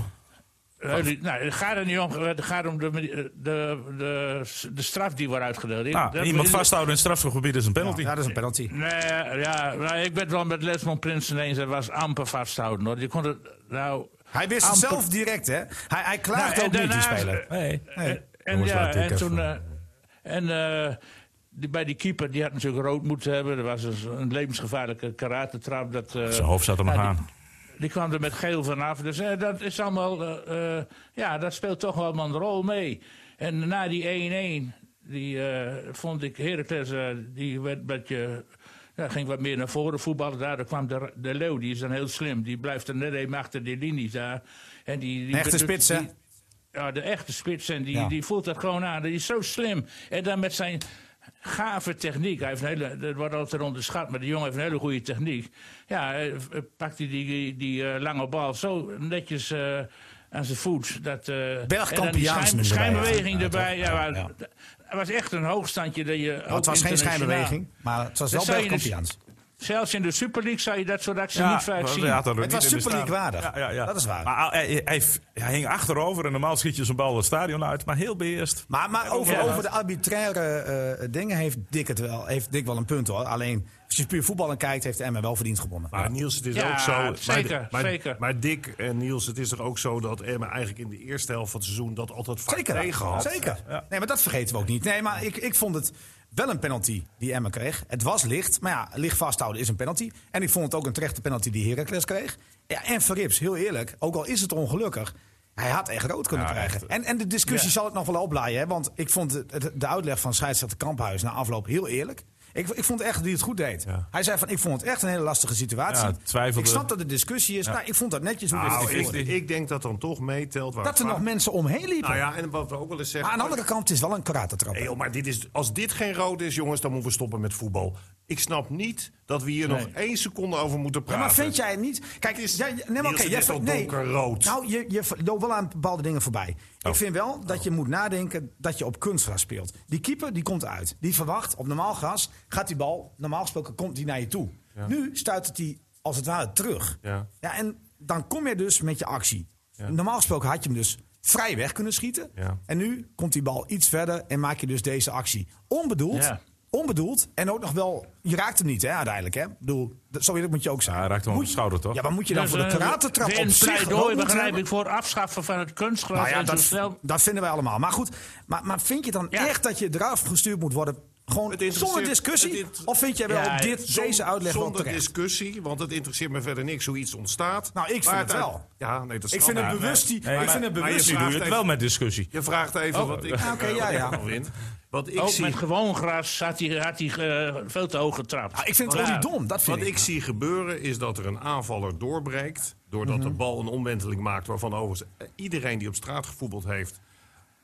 Speaker 5: Eh, die- nou, het gaat er niet om. Het gaat om de, manier- de, de, de straf die wordt uitgedeeld. Ik-
Speaker 1: Nou,
Speaker 5: dat-
Speaker 1: iemand
Speaker 5: ik-
Speaker 1: vasthouden in het strafschopgebied is een penalty.
Speaker 2: Ja, dat is een penalty.
Speaker 5: Nee, ja, nou, ik ben het wel met Lesmond Prinsen eens. Het was amper vasthouden. Hoor. Je kon het, nou,
Speaker 2: Hij wist het
Speaker 5: amper-
Speaker 2: zelf direct, hè? Hij, hij klaagt
Speaker 5: Nou, en
Speaker 2: ook niet, die
Speaker 5: daarnaast- eh,
Speaker 2: speler.
Speaker 1: Nee.
Speaker 2: Nee.
Speaker 5: En,
Speaker 1: Jongens,
Speaker 5: ja,
Speaker 1: laat ik
Speaker 5: en
Speaker 1: even-
Speaker 5: toen. eh, en eh, die, bij die keeper, die had natuurlijk rood moeten hebben. Er was dus een, een levensgevaarlijke karatentrap. Dat, eh,
Speaker 1: Zijn hoofd zat er nog
Speaker 5: ja, die-
Speaker 1: aan.
Speaker 5: Die kwam er met geel vanaf. Dus eh, dat is allemaal. eh, eh, ja, dat speelt toch wel een rol mee. En na die 1-1, die eh, vond ik Heracles, eh, die werd een beetje. Ja, ging wat meer naar voren voetballen. Daardoor kwam de, de Leeuw, die is dan heel slim. Die blijft er net even achter die linies daar. En die, die
Speaker 2: Een echte
Speaker 5: bedoelt-
Speaker 2: spits, hè?
Speaker 5: die- ja, de echte spits. En die,
Speaker 2: Ja.
Speaker 5: die voelt dat gewoon aan. Die is zo slim. En dan met zijn gave techniek. Hij heeft een hele, dat wordt altijd onderschat, maar die jongen heeft een hele goede techniek. Ja, eh, v- eh, pakt hij die, die, die eh, lange bal zo netjes eh, aan zijn voet. Dat, eh, en dan die
Speaker 2: Bergkampiaans erbij,
Speaker 5: schijn- schijnbeweging
Speaker 2: ja.
Speaker 5: erbij.
Speaker 2: Ja,
Speaker 5: Ja,
Speaker 2: toch?
Speaker 5: maar
Speaker 2: Ja.
Speaker 5: d- Het was echt een hoogstandje. Dat je
Speaker 2: Maar
Speaker 5: ook
Speaker 2: het was geen
Speaker 5: internationaal-
Speaker 2: schijnbeweging, maar het was wel
Speaker 5: Dat zou je dus-
Speaker 2: Bergkampiaans.
Speaker 5: Zelfs in de Super League zou je dat soort acties
Speaker 1: Ja,
Speaker 5: niet vaak
Speaker 1: want
Speaker 5: zien.
Speaker 1: hij had er
Speaker 2: Het
Speaker 1: niet
Speaker 2: was
Speaker 1: in de
Speaker 2: Super League
Speaker 1: staaf.
Speaker 2: waardig. Dat is waar.
Speaker 1: Maar hij, hij- hij f- hij hing achterover en normaal schiet je zo'n bal het stadion uit. Maar heel beheerst.
Speaker 2: Maar, maar over,
Speaker 1: Ja.
Speaker 2: over de arbitraire eh, dingen heeft Dick, het wel, heeft Dick wel een punt, hoor. Alleen, als je puur voetballen kijkt, heeft Emmen wel verdiend gewonnen.
Speaker 4: Maar Niels, het is
Speaker 5: Ja,
Speaker 4: ook zo...
Speaker 5: zeker,
Speaker 4: maar,
Speaker 5: zeker.
Speaker 4: Maar, maar Dick en Niels, het is toch ook zo dat Emma eigenlijk in de eerste helft van het seizoen dat altijd vaak
Speaker 2: Zeker.
Speaker 4: tegen had?
Speaker 2: Zeker. Nee, maar dat vergeten we ook niet. Nee, maar ik, ik vond het wel een penalty die Emmen kreeg. Het was licht, maar ja, licht vasthouden is een penalty. En ik vond het ook een terechte penalty die Heracles kreeg. Ja, en Verrips, heel eerlijk, ook al is het ongelukkig... Hij had echt rood kunnen
Speaker 1: Ja,
Speaker 2: krijgen.
Speaker 1: echt. eh,
Speaker 2: En, en de discussie zal het nog wel oplaaien. Hè? Want ik vond het- het- de uitleg van scheidsrechter Kamphuis na afloop heel eerlijk. Ik, ik vond echt die het goed deed.
Speaker 1: Ja.
Speaker 2: Hij zei van, ik vond het echt een hele lastige situatie.
Speaker 1: Ja, twijfelde.
Speaker 2: Ik snap dat er discussie is. Nou, ik vond dat netjes. Hoe
Speaker 4: Nou,
Speaker 2: dit is
Speaker 4: ik,
Speaker 2: gevoerd.
Speaker 4: ik denk dat dan toch meetelt. waar
Speaker 2: dat er
Speaker 4: het
Speaker 2: nog
Speaker 4: vaak-
Speaker 2: mensen omheen liepen.
Speaker 4: Nou ja, en wat we ook wel eens
Speaker 2: Maar
Speaker 4: zeggen.
Speaker 2: aan de andere kant, het is wel een karatentrap.
Speaker 4: Nee, joh, maar dit is, als dit geen rood is, jongens, dan moeten we stoppen met voetbal. Ik snap niet dat we hier nog één seconde over moeten
Speaker 2: Ja,
Speaker 4: praten.
Speaker 2: maar vind jij het niet? Kijk,
Speaker 4: Het is-
Speaker 2: jij, nee, maar
Speaker 4: Niels,
Speaker 2: oké,
Speaker 4: het
Speaker 2: jij
Speaker 4: is
Speaker 2: vindt-
Speaker 4: al
Speaker 2: nee.
Speaker 4: donkerrood. Oh.
Speaker 2: Nou, je, je loopt wel aan bepaalde dingen voorbij. Ik vind wel dat je moet nadenken dat je op kunstgras speelt. Die keeper die komt uit. Die verwacht op normaal gras gaat die bal, normaal gesproken komt die naar je toe. Nu stuit het die als het ware terug.
Speaker 4: Ja.
Speaker 2: en dan kom je dus met je actie. Normaal gesproken had je hem dus vrij weg kunnen schieten.
Speaker 4: Ja.
Speaker 2: En nu komt die bal iets verder en maak je dus deze actie. Onbedoeld.
Speaker 5: Ja.
Speaker 2: Onbedoeld. En ook nog wel, je raakt hem niet hè, uiteindelijk. Hè? Ik bedoel, dat- zo eerlijk moet je ook zijn.
Speaker 1: Ja, hij raakt hem op
Speaker 2: Moet-
Speaker 1: de schouder, toch?
Speaker 2: Ja, maar moet je dan
Speaker 5: Dus,
Speaker 2: voor de
Speaker 5: eh,
Speaker 2: karatentrap
Speaker 5: weer
Speaker 2: op
Speaker 5: een
Speaker 2: zich
Speaker 5: pleidooi
Speaker 2: rood moeten
Speaker 5: begrijp
Speaker 2: hebben?
Speaker 5: ik voor afschaffen van het kunstgras.
Speaker 2: Nou ja,
Speaker 5: en zo
Speaker 2: dat,
Speaker 5: snel.
Speaker 2: dat vinden wij allemaal. Maar goed, maar, maar vind je dan
Speaker 5: Ja.
Speaker 2: echt dat je eraf gestuurd moet worden? Gewoon
Speaker 4: Het interesseert-
Speaker 2: zonder discussie?
Speaker 4: het in-
Speaker 2: of vind jij wel
Speaker 5: Ja,
Speaker 2: dit,
Speaker 4: Zon-
Speaker 2: deze uitleg wel
Speaker 4: Zonder
Speaker 2: terecht?
Speaker 4: discussie, want het interesseert me verder niks hoe iets ontstaat.
Speaker 2: Nou, ik vind
Speaker 4: Maar
Speaker 2: het wel.
Speaker 4: Ja, nee, dat
Speaker 2: ik
Speaker 4: snap
Speaker 2: vind het
Speaker 4: Nee.
Speaker 2: bewust die...
Speaker 1: Nee,
Speaker 2: ik
Speaker 1: maar-
Speaker 2: vind het
Speaker 4: maar je
Speaker 2: bewust
Speaker 1: Nu
Speaker 2: die...
Speaker 1: doe
Speaker 4: vraagt
Speaker 1: je het
Speaker 4: even-
Speaker 1: wel met discussie.
Speaker 4: Je vraagt even wat ik
Speaker 2: oké,
Speaker 4: eh,
Speaker 2: ja,
Speaker 4: wat ik
Speaker 2: ja.
Speaker 4: ervan vind. Wat ik
Speaker 5: Ook
Speaker 4: zie
Speaker 5: Oh, met gewoon gras zat hij, had hij eh, veel te hoog getrapt.
Speaker 2: Ah, ik vind het
Speaker 5: Maar
Speaker 2: wel
Speaker 5: ja,
Speaker 2: niet dom, dat vind
Speaker 4: Wat
Speaker 2: ik.
Speaker 4: ik zie gebeuren is dat er een aanvaller doorbreekt. Doordat
Speaker 2: Mhm.
Speaker 4: de bal een omwenteling maakt. Waarvan overigens eh, iedereen die op straat gevoetbald heeft.